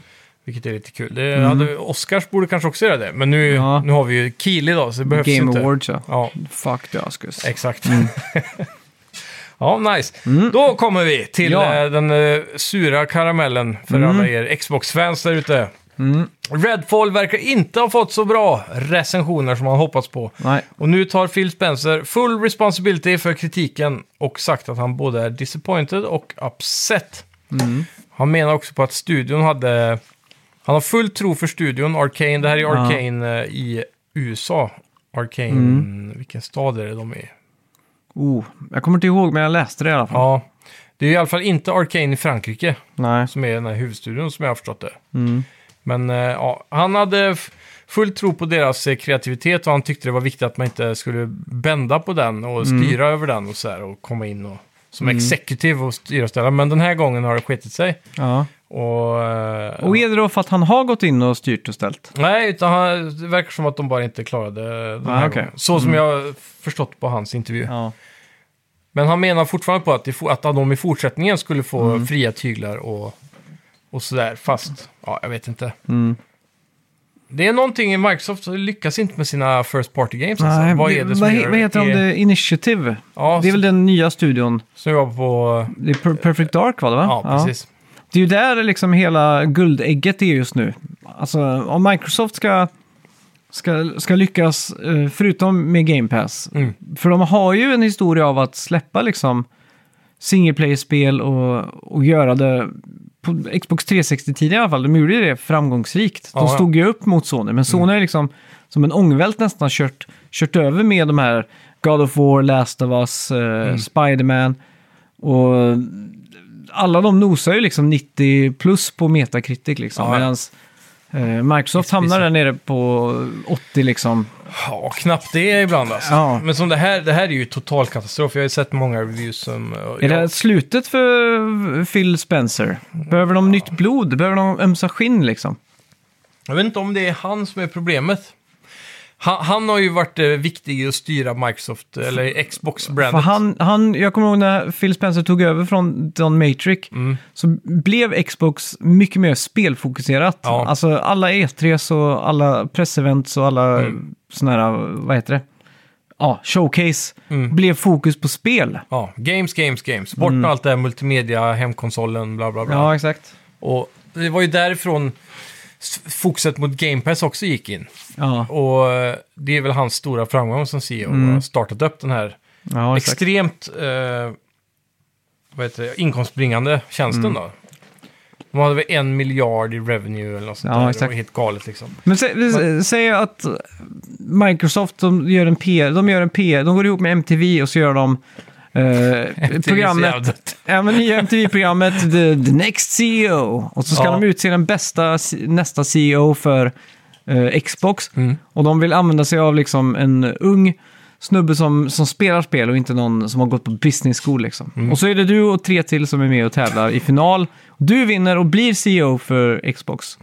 Speaker 3: Vilket är lite kul. Det hade, Oscars borde kanske också göra det. Men nu,
Speaker 2: Ja.
Speaker 3: nu har vi ju Kiel idag så det behövs
Speaker 2: Game
Speaker 3: inte.
Speaker 2: Awards, ja.
Speaker 3: Ja,
Speaker 2: Fuck the Oscars.
Speaker 3: exakt.
Speaker 2: Mm.
Speaker 3: ja, nice. Då kommer vi till
Speaker 2: Ja. Mm.
Speaker 3: eh, den eh, sura karamellen för alla er Xbox-fans där ute. Redfall verkar inte ha fått så bra recensioner som man hoppats på.
Speaker 2: Nej.
Speaker 3: Och nu tar Phil Spencer full responsibility för kritiken och sagt att han både är disappointed och upset.
Speaker 2: Mm.
Speaker 3: Han menar också på att studion hade... Han har full tro för studion, Arcane. Det här är Arcane eh, i USA. Arcane,
Speaker 2: Mm.
Speaker 3: vilken stad är det de är i?
Speaker 2: Oh, jag kommer inte ihåg, men jag läste det i alla fall.
Speaker 3: Ja, det är i alla fall inte Arcane i Frankrike
Speaker 2: Nej.
Speaker 3: som är den här huvudstudion som jag har förstått det.
Speaker 2: Mm.
Speaker 3: Men eh, ja, han hade f- full tro på deras eh, kreativitet och han tyckte det var viktigt att man inte skulle bända på den och
Speaker 2: Mm.
Speaker 3: styra över den och så här och komma in och, som executive och styra och ställa. Men den här gången har det skitit sig.
Speaker 2: Ja.
Speaker 3: Och, eh,
Speaker 2: Och är det då för att han har gått in och styrt och ställt?
Speaker 3: Nej, utan han, det verkar som att de bara inte klarade eh, den
Speaker 2: Ah,
Speaker 3: här
Speaker 2: okej.
Speaker 3: gången. Så som jag förstått på hans intervju.
Speaker 2: Ja.
Speaker 3: Men han menar fortfarande på att, det, fo- att de i fortsättningen skulle få
Speaker 2: Mm.
Speaker 3: fria tyglar och, och sådär. Fast, ja, jag vet inte.
Speaker 2: Mm.
Speaker 3: Det är någonting i Microsoft som lyckas inte med sina First Party Games.
Speaker 2: Nej,
Speaker 3: alltså. Vad
Speaker 2: det-
Speaker 3: är det som
Speaker 2: vad, he-
Speaker 3: gör
Speaker 2: vad heter de?
Speaker 3: är-
Speaker 2: Det? Initiative?
Speaker 3: Ja,
Speaker 2: Det är väl den nya studion?
Speaker 3: som jobbar på...
Speaker 2: Det är Per- Perfect Dark var det va?
Speaker 3: Ja, precis.
Speaker 2: Det är ju där liksom hela guldägget är just nu. Alltså om Microsoft ska, ska, ska lyckas, eh, förutom med Game Pass,
Speaker 3: Mm.
Speaker 2: för de har ju en historia av att släppa liksom single player-spel och, och göra det på Xbox 360-tiden i alla fall. De gjorde ju det framgångsrikt. De
Speaker 3: Ja, Mm. ja.
Speaker 2: stod ju upp mot Sony, men Sony har ju liksom som en ångvält nästan kört, kört över med de här God of War, Last of Us, eh,
Speaker 3: Mm.
Speaker 2: Spider-Man och alla de nosar ju liksom 90 plus på Metacritic liksom.
Speaker 3: Ja.
Speaker 2: Medan eh, Microsoft hamnar där nere på 80 liksom.
Speaker 3: Ja, knappt det ibland alltså.
Speaker 2: Ja.
Speaker 3: Men som det här, det här är ju total katastrof. Jag har ju sett många reviews som...
Speaker 2: Är det
Speaker 3: ja,
Speaker 2: här slutet för Phil Spencer? Behöver de nytt blod? Behöver de ömsa skinn liksom?
Speaker 3: Jag vet inte om det är han som är problemet. Han, han har ju varit eh, viktig i att styra Microsoft, eller
Speaker 2: För
Speaker 3: Xbox-brandet.
Speaker 2: han, han, jag kommer ihåg när Phil Spencer tog över från Don Matrick så blev Xbox mycket mer spelfokuserat.
Speaker 3: Ja.
Speaker 2: Alltså alla E3s och alla pressevents och alla mm. sådana här, vad heter det? Ja, showcase. Blev fokus på spel.
Speaker 3: Ja, games, games, games. Bort med allt det här multimedia, hemkonsolen, bla bla bla.
Speaker 2: Mm. Ja, exakt.
Speaker 3: Och det var ju därifrån s- fokuset mot Game Pass också gick in.
Speaker 2: Ja,
Speaker 3: Och eh, det är väl hans stora framgång som CEO, och har startat upp den här
Speaker 2: Mm. ja exakt.
Speaker 3: extremt eh, vad heter det, inkomstbringande tjänsten
Speaker 2: Mm.
Speaker 3: då. De hade väl en miljard i revenue eller något sånt
Speaker 2: Ja,
Speaker 3: där. Det
Speaker 2: exakt.
Speaker 3: var helt galet liksom.
Speaker 2: Men sä, sä- säg att Microsoft de gör en PR, de gör en PR, de går ihop med MTV och så gör de eh, programmet,
Speaker 3: dött.
Speaker 2: ja, men nya MTV-programmet The, The Next CEO. Och så ska
Speaker 3: Ja.
Speaker 2: de utse den bästa, si- nästa CEO för eh, Xbox.
Speaker 3: Mm.
Speaker 2: Och de vill använda sig av liksom en ung snubbe som, som spelar spel och inte någon som har gått på business school. Liksom.
Speaker 3: Mm.
Speaker 2: Och så är det du och tre till som är med och tävlar i final. Du vinner och blir CEO för Xbox.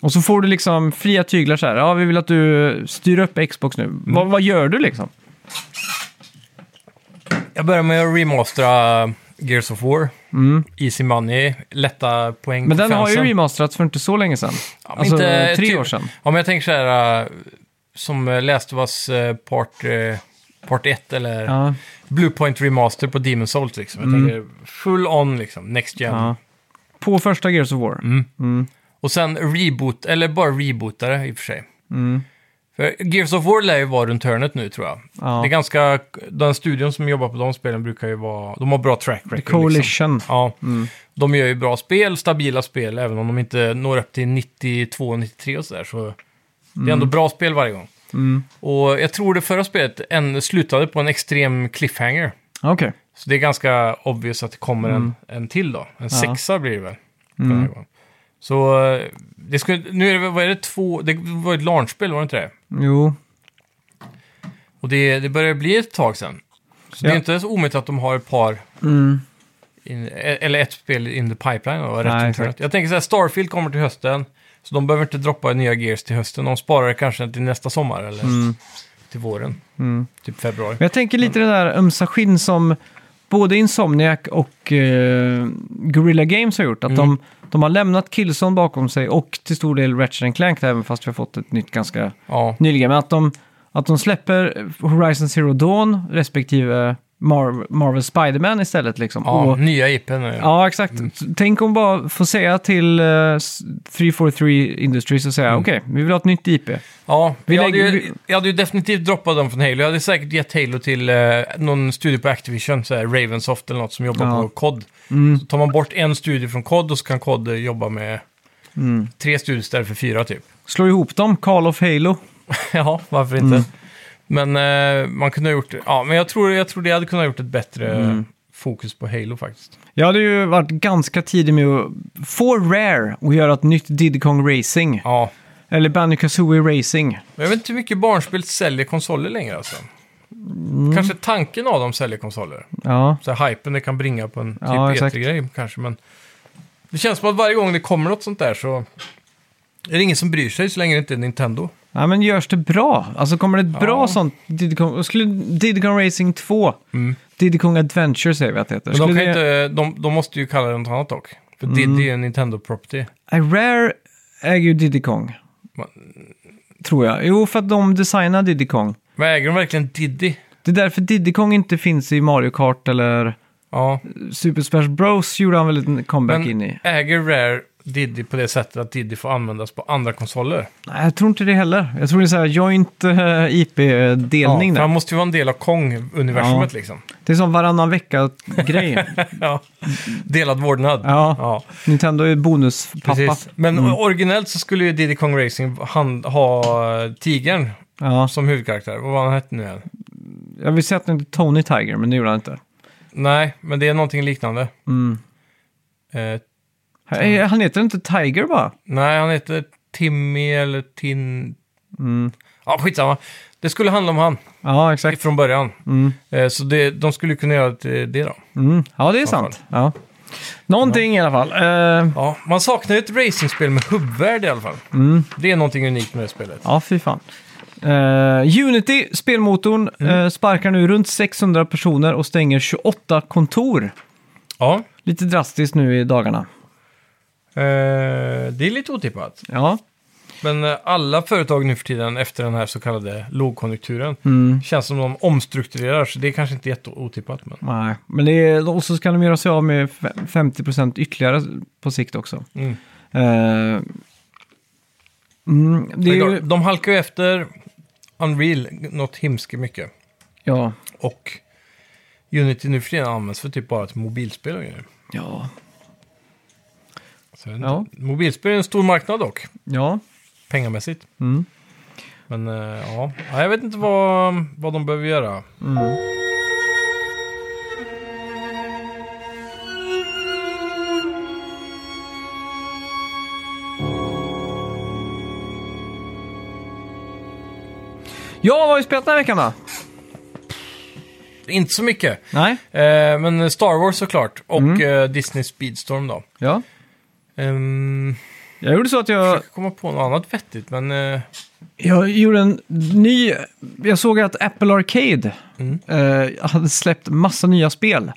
Speaker 2: Och så får du liksom fria tyglar så här. Ja, vi vill att du styr upp Xbox nu. Vad,
Speaker 3: Mm.
Speaker 2: vad gör du liksom?
Speaker 3: Jag börjar med att remastera Gears of War. Easy money, lätta poäng
Speaker 2: Mm. Men
Speaker 3: för
Speaker 2: den har ju
Speaker 3: fansen.
Speaker 2: remasterats för inte så länge sedan.
Speaker 3: Ja, men
Speaker 2: alltså
Speaker 3: inte-
Speaker 2: tre
Speaker 3: typ-
Speaker 2: år sedan.
Speaker 3: Ja, men jag tänker så här, äh, som äh, Last of Us äh, Part, äh, part 1 eller
Speaker 2: Ja, Mm.
Speaker 3: Bluepoint Remaster på Demon's Souls liksom. Jag tänker full on liksom, next gen.
Speaker 2: ja. På första Gears of War.
Speaker 3: Och sen reboot, eller bara rebootare i och för sig.
Speaker 2: Mm.
Speaker 3: För Gears of War lär ju vara runt hörnet nu tror jag.
Speaker 2: Ja.
Speaker 3: Det är ganska, den studion som jobbar på de spelen brukar ju vara, de har bra track record.
Speaker 2: Coalition.
Speaker 3: Liksom.
Speaker 2: Mm.
Speaker 3: Ja, de gör ju bra spel, stabila spel,
Speaker 2: Mm.
Speaker 3: även om de inte når upp till 92-93 och sådär. Så det är ändå bra spel varje gång. Och jag tror det förra spelet en, slutade på en extrem cliffhanger.
Speaker 2: Okej.
Speaker 3: Så det är ganska obvious att det kommer
Speaker 2: Mm.
Speaker 3: en, en till då. En sexa blir det väl. den här gången. Så eh, det skulle, nu är det, väl- vad är det, två, det var ett launchspel var det inte det?
Speaker 2: Jo.
Speaker 3: Och det, det börjar bli ett tag sedan. Så det
Speaker 2: Ja.
Speaker 3: är inte så omöjligt att de har ett par,
Speaker 2: Mm.
Speaker 3: in, e- eller ett spel in the pipeline. Och
Speaker 2: Nej,
Speaker 3: rätt internet.
Speaker 2: exakt.
Speaker 3: Jag tänker så här, Starfield kommer till hösten. Så de behöver inte droppa nya Gears till hösten. De sparar det kanske till nästa sommar eller till våren. Typ februari.
Speaker 2: Mm. Men jag tänker lite det där ömsa skinn som både Insomniac och eh, Guerrilla Games har gjort. Att de, de har lämnat Killzone bakom sig och till stor del Ratchet Clank, även fast vi har fått ett nytt ganska
Speaker 3: Ja,
Speaker 2: nyligen. Men att de, att de släpper Horizon Zero Dawn respektive Mar- Marvel Spider-Man istället. Liksom.
Speaker 3: ja
Speaker 2: Och,
Speaker 3: nya IPn. nu.
Speaker 2: ja exakt. Tänk om bara få säga till eh, s- 343 Industries och säga okej, vi vill ha ett nytt IP.
Speaker 3: Ja,
Speaker 2: Vi
Speaker 3: jag,
Speaker 2: lägger-
Speaker 3: hade ju,
Speaker 2: vi-
Speaker 3: jag hade ju definitivt droppat dem från Halo. Jag hade säkert gett Halo till eh, någon studio på Activision, så här Ravensoft eller något som jobbar
Speaker 2: Ja. Mm.
Speaker 3: på COD. Så tar man bort en studio från COD och så kan COD eh, jobba med
Speaker 2: Mm.
Speaker 3: tre studios istället för fyra typ.
Speaker 2: Slå ihop dem, Call of Halo.
Speaker 3: ja, varför inte?
Speaker 2: Mm.
Speaker 3: Men eh, man kunde ha gjort... Ja, men jag tror, jag tror det hade kunnat ha gjort ett bättre
Speaker 2: Mm.
Speaker 3: eh, fokus på Halo faktiskt.
Speaker 2: Jag hade ju varit ganska tidig med att få Rare och göra ett nytt Diddy Kong Racing.
Speaker 3: Ja.
Speaker 2: Eller Banjo-Kazooie Racing.
Speaker 3: Men jag vet inte hur mycket barnspel säljer konsoler längre alltså.
Speaker 2: Mm.
Speaker 3: Kanske tanken av dem säljer konsoler.
Speaker 2: Ja,
Speaker 3: så här hypen det kan bringa på en typ
Speaker 2: Ja, exakt.
Speaker 3: E3-grej kanske. Men det känns som att varje gång det kommer något sånt där så är det ingen som bryr sig så länge det inte är Nintendo.
Speaker 2: ja men görs det bra? Alltså kommer det ett bra
Speaker 3: Ja.
Speaker 2: sånt Diddy Kong... och Skulle Diddy Kong Racing 2, Diddy Kong Adventure säger vi att det heter.
Speaker 3: Mm. Men de,
Speaker 2: Skulle Mm.
Speaker 3: kan ju
Speaker 2: det...
Speaker 3: inte, de, de måste ju kalla det något annat dock. För Diddy är en Nintendo-property.
Speaker 2: Nej, Rare äger ju Diddy Kong.
Speaker 3: Va-
Speaker 2: Tror jag. Jo, för att de designar Diddy Kong.
Speaker 3: Men äger de verkligen Diddy?
Speaker 2: Det är därför Diddy Kong inte finns i Mario Kart eller
Speaker 3: Ja,
Speaker 2: Super Smash Bros gjorde han väl en comeback in
Speaker 3: men
Speaker 2: i.
Speaker 3: äger Rare Diddy på det sättet att Diddy får användas på andra konsoler?
Speaker 2: Nej, jag tror inte det heller. Jag tror det är så här joint eh,
Speaker 3: Ja,
Speaker 2: IP-delning
Speaker 3: för
Speaker 2: där.
Speaker 3: han måste ju vara en del av Kong-universumet
Speaker 2: Ja.
Speaker 3: liksom.
Speaker 2: Det är som varannan vecka-grej.
Speaker 3: Ja. Delad vårdnad.
Speaker 2: Ja.
Speaker 3: ja.
Speaker 2: Nintendo är bonuspappa.
Speaker 3: Precis. Men originellt så skulle ju Diddy Kong Racing hand, ha eh, tigern
Speaker 2: Ja,
Speaker 3: som huvudkaraktär. Vad var han hette nu igen?
Speaker 2: jag vill säga att det inte är Tony Tiger, men det gjorde han inte.
Speaker 3: Nej, men det är någonting liknande. Eh,
Speaker 2: Eh,
Speaker 3: Mm.
Speaker 2: Han heter inte Tiger bara?
Speaker 3: nej, han heter Timmy eller Tin... Ja, skitsamma. Det skulle handla om han
Speaker 2: Ja, exakt.
Speaker 3: från början. Eh, så det, de skulle kunna göra det, det då.
Speaker 2: Mm. Ja, det är sant. Ja. Någonting i alla fall. Eh,
Speaker 3: Ja, man saknar ju ett racingspel med hubbvärld i alla fall. Det är någonting unikt med det spelet.
Speaker 2: ja, fy fan. Eh, Unity, spelmotorn,
Speaker 3: Mm.
Speaker 2: eh, sparkar nu runt 600 personer och stänger 28 kontor.
Speaker 3: Ja,
Speaker 2: Lite drastiskt nu i dagarna.
Speaker 3: eh, det är lite otippat.
Speaker 2: Ja,
Speaker 3: Men eh, alla företag nu för tiden efter den här så kallade lågkonjunkturen
Speaker 2: Mm.
Speaker 3: känns som de omstrukturerar, så det är kanske inte jätteotippat. Men...
Speaker 2: nej. Men det är, och så ska de göra sig av med fe- 50% ytterligare på sikt också.
Speaker 3: Mm.
Speaker 2: Eh, mm, det är ju,
Speaker 3: De halkar ju efter Unreal något hemskt mycket.
Speaker 2: ja,
Speaker 3: Och Unity nu för tiden används för typ bara ett mobilspel och grejer.
Speaker 2: ja,
Speaker 3: Så jag vet inte.
Speaker 2: Ja.
Speaker 3: Mobilspel är en stor marknad dock,
Speaker 2: ja,
Speaker 3: pengamässigt.
Speaker 2: Mm.
Speaker 3: Men eh, ja, Ja, jag vet inte vad, vad de behöver göra.
Speaker 2: ja, vad har vi spelat den här veckan då?
Speaker 3: Inte så mycket.
Speaker 2: Nej,
Speaker 3: Eh, men Star Wars såklart, och
Speaker 2: Mm.
Speaker 3: eh, Disney Speedstorm då.
Speaker 2: ja,
Speaker 3: Ehm,
Speaker 2: jag gjorde så att jag,
Speaker 3: försöker komma på något annat vettigt, men... eh,
Speaker 2: jag gjorde en ny, jag såg att Apple Arcade
Speaker 3: Mm.
Speaker 2: eh, hade släppt massa nya spel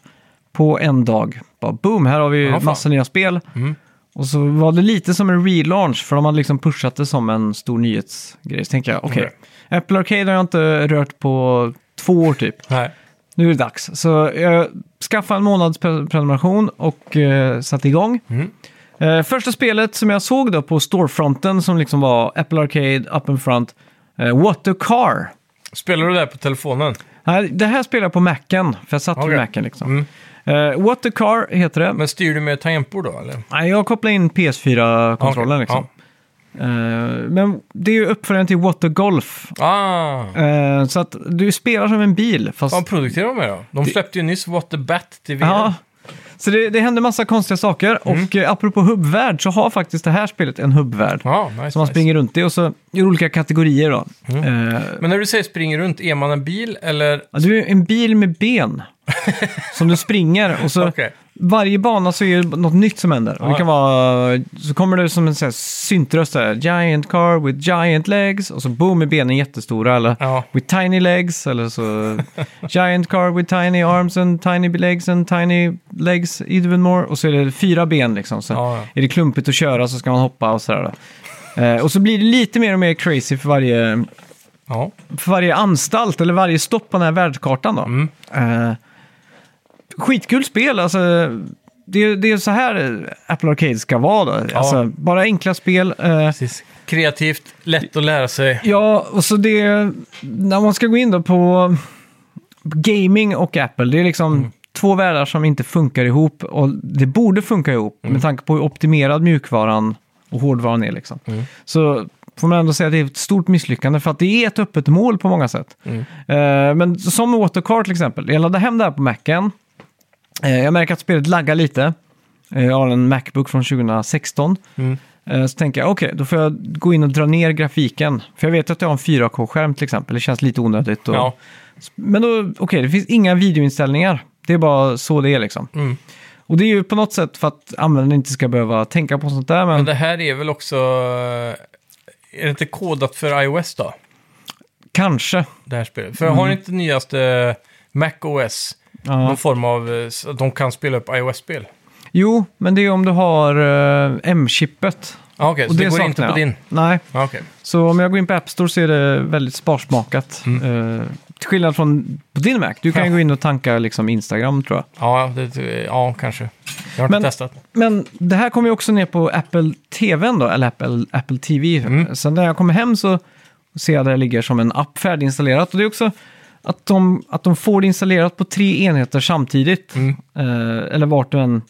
Speaker 2: på en dag. Bara boom, här har vi
Speaker 3: Ja, fan.
Speaker 2: massa nya spel.
Speaker 3: Mm.
Speaker 2: Och så var det lite som en relaunch, för de hade liksom pushat det som en stor nyhetsgrej. Så tänkte jag, okej,
Speaker 3: Okej.
Speaker 2: Apple Arcade har jag inte rört på två år typ.
Speaker 3: nej.
Speaker 2: nu är det dags. Så jag skaffade en månads pre- prenumeration och eh, satte igång.
Speaker 3: Mm.
Speaker 2: Eh, första spelet som jag såg då på storefronten som liksom var Apple Arcade, Up and Front, eh, What a Car.
Speaker 3: Spelar du det här på telefonen?
Speaker 2: Nej, det här spelade jag på Macen, för jag satt vid
Speaker 3: Okej. Mm.
Speaker 2: Macen liksom. Eh, What a Car heter det.
Speaker 3: Men styr du med tangentbord då, eller?
Speaker 2: Nej, jag kopplade in PS4-kontrollen
Speaker 3: Okej,
Speaker 2: liksom. Eh, men det är ju uppföljaren till What the Golf.
Speaker 3: Ah!
Speaker 2: Eh, så att du spelar som en bil, fast...
Speaker 3: Vad produktiverar de med då? De släppte ju nyss What the Bat till VR.
Speaker 2: Ja. Så det, det händer massa konstiga saker.
Speaker 3: Mm.
Speaker 2: Och eh, apropå hubbvärld så har faktiskt det här spelet en hubbvärld.
Speaker 3: Ja,
Speaker 2: Som
Speaker 3: nice,
Speaker 2: man
Speaker 3: nice. Mm.
Speaker 2: springer runt i och så i olika kategorier då. Eh,
Speaker 3: Men när du säger springer runt, är man en bil eller?
Speaker 2: ja, du är en bil med ben som du springer och så
Speaker 3: Okej.
Speaker 2: varje bana så är det något nytt som händer. Och det
Speaker 3: Ja.
Speaker 2: kan vara, så kommer det som en sån här syntröst där, giant car with giant legs och så boom är benen jättestora eller
Speaker 3: Ja.
Speaker 2: with tiny legs eller så giant car with tiny arms and tiny legs and tiny legs even more och så är det fyra ben liksom. Så
Speaker 3: Ja, ja.
Speaker 2: är det klumpigt att köra så ska man hoppa och sådär. då. Eh, och så blir det lite mer och mer crazy för varje
Speaker 3: Ja.
Speaker 2: för varje anstalt eller varje stopp på den här världskartan. Då. Eh, skitkul spel, alltså. Det är, det är så här Apple Arcade ska vara. Då. Alltså, bara enkla spel. eh,
Speaker 3: Precis. Kreativt, lätt att lära sig.
Speaker 2: ja, och så det... När man ska gå in då på gaming och Apple, det är liksom två världar som inte funkar ihop. Och det borde funka ihop med tanke på hur optimerad mjukvaran och hårdvaran är. Liksom. Så får man ändå säga att det är ett stort misslyckande för att det är ett öppet mål på många sätt. Eh, men som med Autocar till exempel, jag laddade hem det här på Macen. Eh, jag märker att spelet laggar lite. Eh, jag har en Macbook från 2016. Eh, så tänker jag, okej, då får jag gå in och dra ner grafiken. För jag vet att jag har en 4K-skärm till exempel, det känns lite onödigt. Och,
Speaker 3: Ja.
Speaker 2: men då, okej, det finns inga videoinställningar. Det är bara så det är liksom.
Speaker 3: Mm.
Speaker 2: Och det är ju på något sätt för att användaren inte ska behöva tänka på sånt där.
Speaker 3: Men
Speaker 2: Men
Speaker 3: det här är väl också... eh, Är det inte kodat för iOS då?
Speaker 2: kanske.
Speaker 3: Det här spelet. För har inte nyaste Mac OS
Speaker 2: Mm. Ja.
Speaker 3: någon form av... eh, så att De kan spela upp iOS-spel?
Speaker 2: Jo, men det är om du har eh, M-chippet.
Speaker 3: Ja, okej.
Speaker 2: Och
Speaker 3: så det, går
Speaker 2: saknar
Speaker 3: inte på
Speaker 2: jag.
Speaker 3: din?
Speaker 2: Nej,
Speaker 3: Ja, okej.
Speaker 2: så om jag går in på App Store så är det väldigt sparsmakat. Eh, till skillnad från på din Mac. Du kan ju
Speaker 3: Mm. Ja.
Speaker 2: gå in och tanka liksom Instagram tror jag.
Speaker 3: Ja, det, ja, kanske. Jag har
Speaker 2: Men-
Speaker 3: inte testat.
Speaker 2: Men det här kommer ju också ner på Apple TV då, eller Apple, Apple TV. Så när jag kommer hem så ser jag det ligger som en app färdiginstallerat. Och det är också att de, att de får det installerat på tre enheter samtidigt. Eh, eller vart du än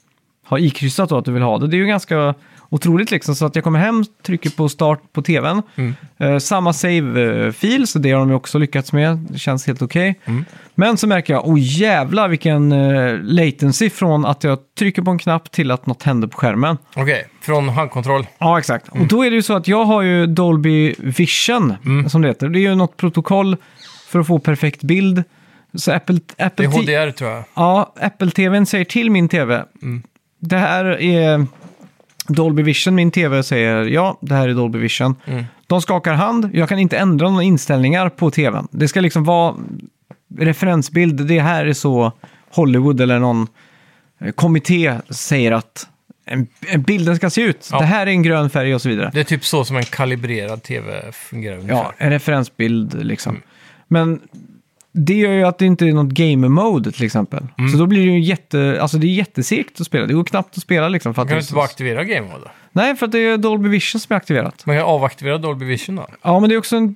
Speaker 2: har ikryssat då att du vill ha det. Det är ju ganska otroligt liksom. Så att jag kommer hem, trycker på start på tvn. Eh, samma save-fil, så det har de ju också lyckats med. Det känns helt okej. Men så märker jag, oh jävlar vilken eh, latency från att jag trycker på en knapp till att något händer på skärmen.
Speaker 3: Okej, från handkontroll.
Speaker 2: Ja, exakt. Och då är det ju så att jag har ju Dolby Vision, som det heter. Det är ju något protokoll för att få perfekt bild. Så Apple,
Speaker 3: Det
Speaker 2: Apple,
Speaker 3: är
Speaker 2: T-
Speaker 3: HDR tror jag.
Speaker 2: ja, Apple TVn säger till min TV, det här är Dolby Vision. Min TV säger ja, det här är Dolby Vision. De skakar hand, jag kan inte ändra några inställningar på TVn. Det ska liksom vara referensbild, det här är så Hollywood eller någon eh, kommitté säger att en, en bilden ska se ut.
Speaker 3: Ja.
Speaker 2: Det här är en grön färg och så vidare.
Speaker 3: Det är typ så som en kalibrerad tv fungerar ungefär. Mm.
Speaker 2: Ja, en referensbild liksom. Men det gör ju att det inte är något game-mode till exempel.
Speaker 3: Mm.
Speaker 2: Så då blir det ju jätte, alltså det är jättesegt att spela. Det går knappt att spela liksom. För att
Speaker 3: Kan
Speaker 2: det
Speaker 3: du
Speaker 2: är
Speaker 3: inte
Speaker 2: så-
Speaker 3: bara aktivera Game Mode då?
Speaker 2: Nej, för att det är Dolby Vision som är aktiverat.
Speaker 3: Man kan avaktivera Dolby Vision då?
Speaker 2: Ja, men det är också en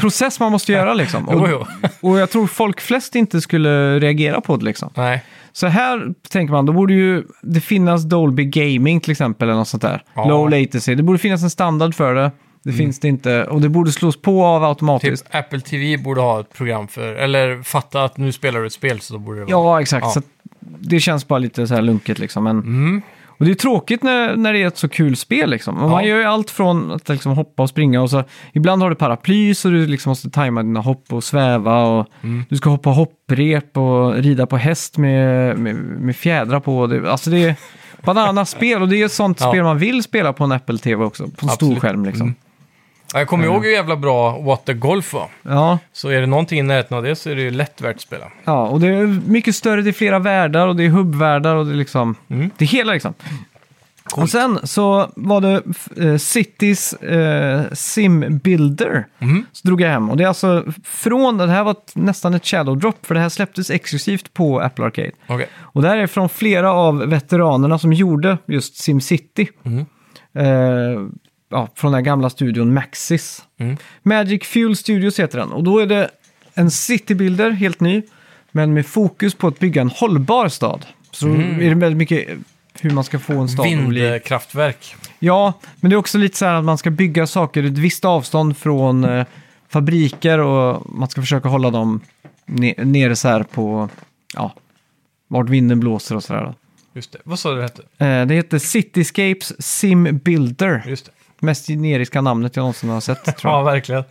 Speaker 2: process man måste göra liksom.
Speaker 3: Jo,
Speaker 2: Och,
Speaker 3: jo.
Speaker 2: och jag tror folk flest inte skulle reagera på det liksom.
Speaker 3: Nej.
Speaker 2: Så här tänker man, då borde ju det finnas Dolby Gaming till exempel eller något sånt där.
Speaker 3: Ja. Mm.
Speaker 2: Low latency. Det borde finnas en standard för det. Det finns det inte. Och det borde slås på av
Speaker 3: Typ
Speaker 2: automatiskt.
Speaker 3: Apple TV borde ha ett program för, eller fatta att nu spelar du ett spel så då borde det vara.
Speaker 2: Ja, exakt.
Speaker 3: Ja. Mm.
Speaker 2: Så att det känns bara lite så här lunket liksom. Men, Och det är tråkigt när, när det är ett så kul spel liksom. Och Man
Speaker 3: Ja.
Speaker 2: gör ju allt från att liksom hoppa och springa och så ibland har du paraply så du liksom måste tajma dina hopp och sväva och
Speaker 3: Mm.
Speaker 2: du ska hoppa hopprep och rida på häst med, med, med fjädrar på. Det, alltså det är bananaspel och det är ett sånt
Speaker 3: Ja.
Speaker 2: spel man vill spela på en Apple TV också. På en stor
Speaker 3: Absolut. Mm.
Speaker 2: skärm liksom.
Speaker 3: Ja. Jag
Speaker 2: Mm.
Speaker 3: kommer ihåg hur jävla bra What the Golf var.
Speaker 2: Ja. Så
Speaker 3: Så är det någonting i närheten av det så är det ju lätt värt att spela.
Speaker 2: Ja, och det är mycket större, det är flera världar och det är hubbvärldar och det är liksom... Det är hela liksom. Och sen så var det eh, Cities eh, Sim Builder. Så drog jag hem. Och det är alltså från, det här var ett, nästan ett shadow drop, för det här släpptes exklusivt på Apple Arcade.
Speaker 3: Okej.
Speaker 2: Och det här är från flera av veteranerna som gjorde just SimCity. Eh, ja, från den här gamla studion Maxis. Magic Fuel Studios heter den. Och då är det en citybuilder, helt ny. Men med fokus på att bygga en hållbar stad. Så är det väldigt mycket hur man ska få en stad att bli...
Speaker 3: Vindkraftverk.
Speaker 2: Ja, men det är också lite så här att man ska bygga saker ett visst avstånd från eh, fabriker och man ska försöka hålla dem ne- nere så här på, ja, vart vinden blåser och sådär. då.
Speaker 3: Just det. Vad sa du det hette?
Speaker 2: Eh, det heter Cityscapes Sim Builder.
Speaker 3: Just det.
Speaker 2: Mest generiska namnet jag någonsin har sett, tror
Speaker 3: Ja,
Speaker 2: jag. Mm.
Speaker 3: verkligen.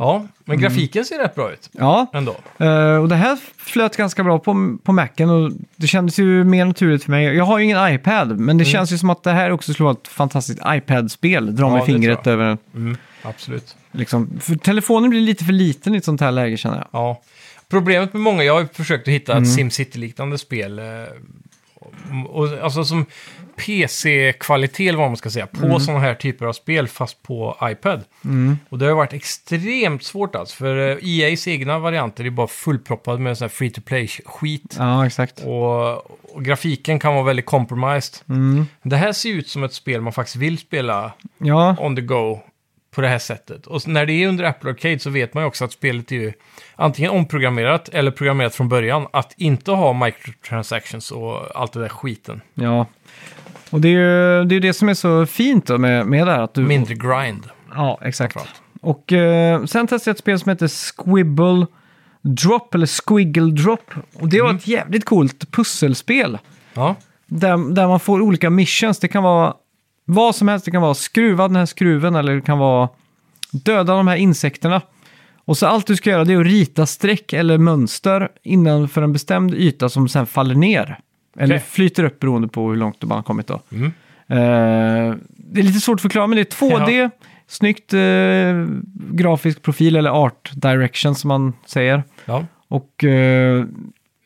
Speaker 3: Ja, men grafiken ser rätt bra ut
Speaker 2: Ja,
Speaker 3: ändå.
Speaker 2: Eh, och det här flöt ganska bra på, på Macen och det kändes ju mer naturligt för mig. Jag har ju ingen iPad, men det känns ju som att det här också skulle vara ett fantastiskt iPad-spel. Dra
Speaker 3: Mm. Ja,
Speaker 2: med
Speaker 3: det
Speaker 2: fingret
Speaker 3: tror
Speaker 2: över den.
Speaker 3: Absolut.
Speaker 2: Liksom. För telefonen blir lite för liten i ett sånt här läge känner jag.
Speaker 3: Ja. Problemet med många, jag har ju försökt att hitta ett SimCity-liknande spel. eh, Och, och, alltså som PC-kvalitet, eller vad man ska säga, på sådana här typer av spel, fast på iPad. Och det har ju varit extremt svårt alltså, för eh, EAs egna varianter är bara fullproppade med sån här free-to-play-skit.
Speaker 2: Ja, exakt.
Speaker 3: Och, och grafiken kan vara väldigt compromised. Det här ser ju ut som ett spel man faktiskt vill spela
Speaker 2: Ja,
Speaker 3: on the go på det här sättet. Och när det är under Apple Arcade så vet man ju också att spelet är ju antingen omprogrammerat eller programmerat från början att inte ha microtransactions och allt det där skiten.
Speaker 2: ja. Och det är ju det, är ju det som är så fint då med, med det här. Att du,
Speaker 3: Mindre grind.
Speaker 2: Ja, exakt.
Speaker 3: Klart.
Speaker 2: Och eh, sen testade jag ett spel som heter Squibble Drop, eller Squiggle Drop. Och det var ett jävligt coolt pusselspel.
Speaker 3: Ja,
Speaker 2: Där, där man får olika missions. Det kan vara vad som helst. Det kan vara skruva den här skruven eller det kan vara döda de här insekterna. Och så allt du ska göra det är att rita streck eller mönster innanför en bestämd yta som sen faller ner. Eller
Speaker 3: Okej.
Speaker 2: flyter upp beroende på hur långt man har kommit då. Eh, det är lite svårt att förklara men det är 2D, snyggt eh, grafisk profil eller art direction som man säger.
Speaker 3: ja.
Speaker 2: Och eh,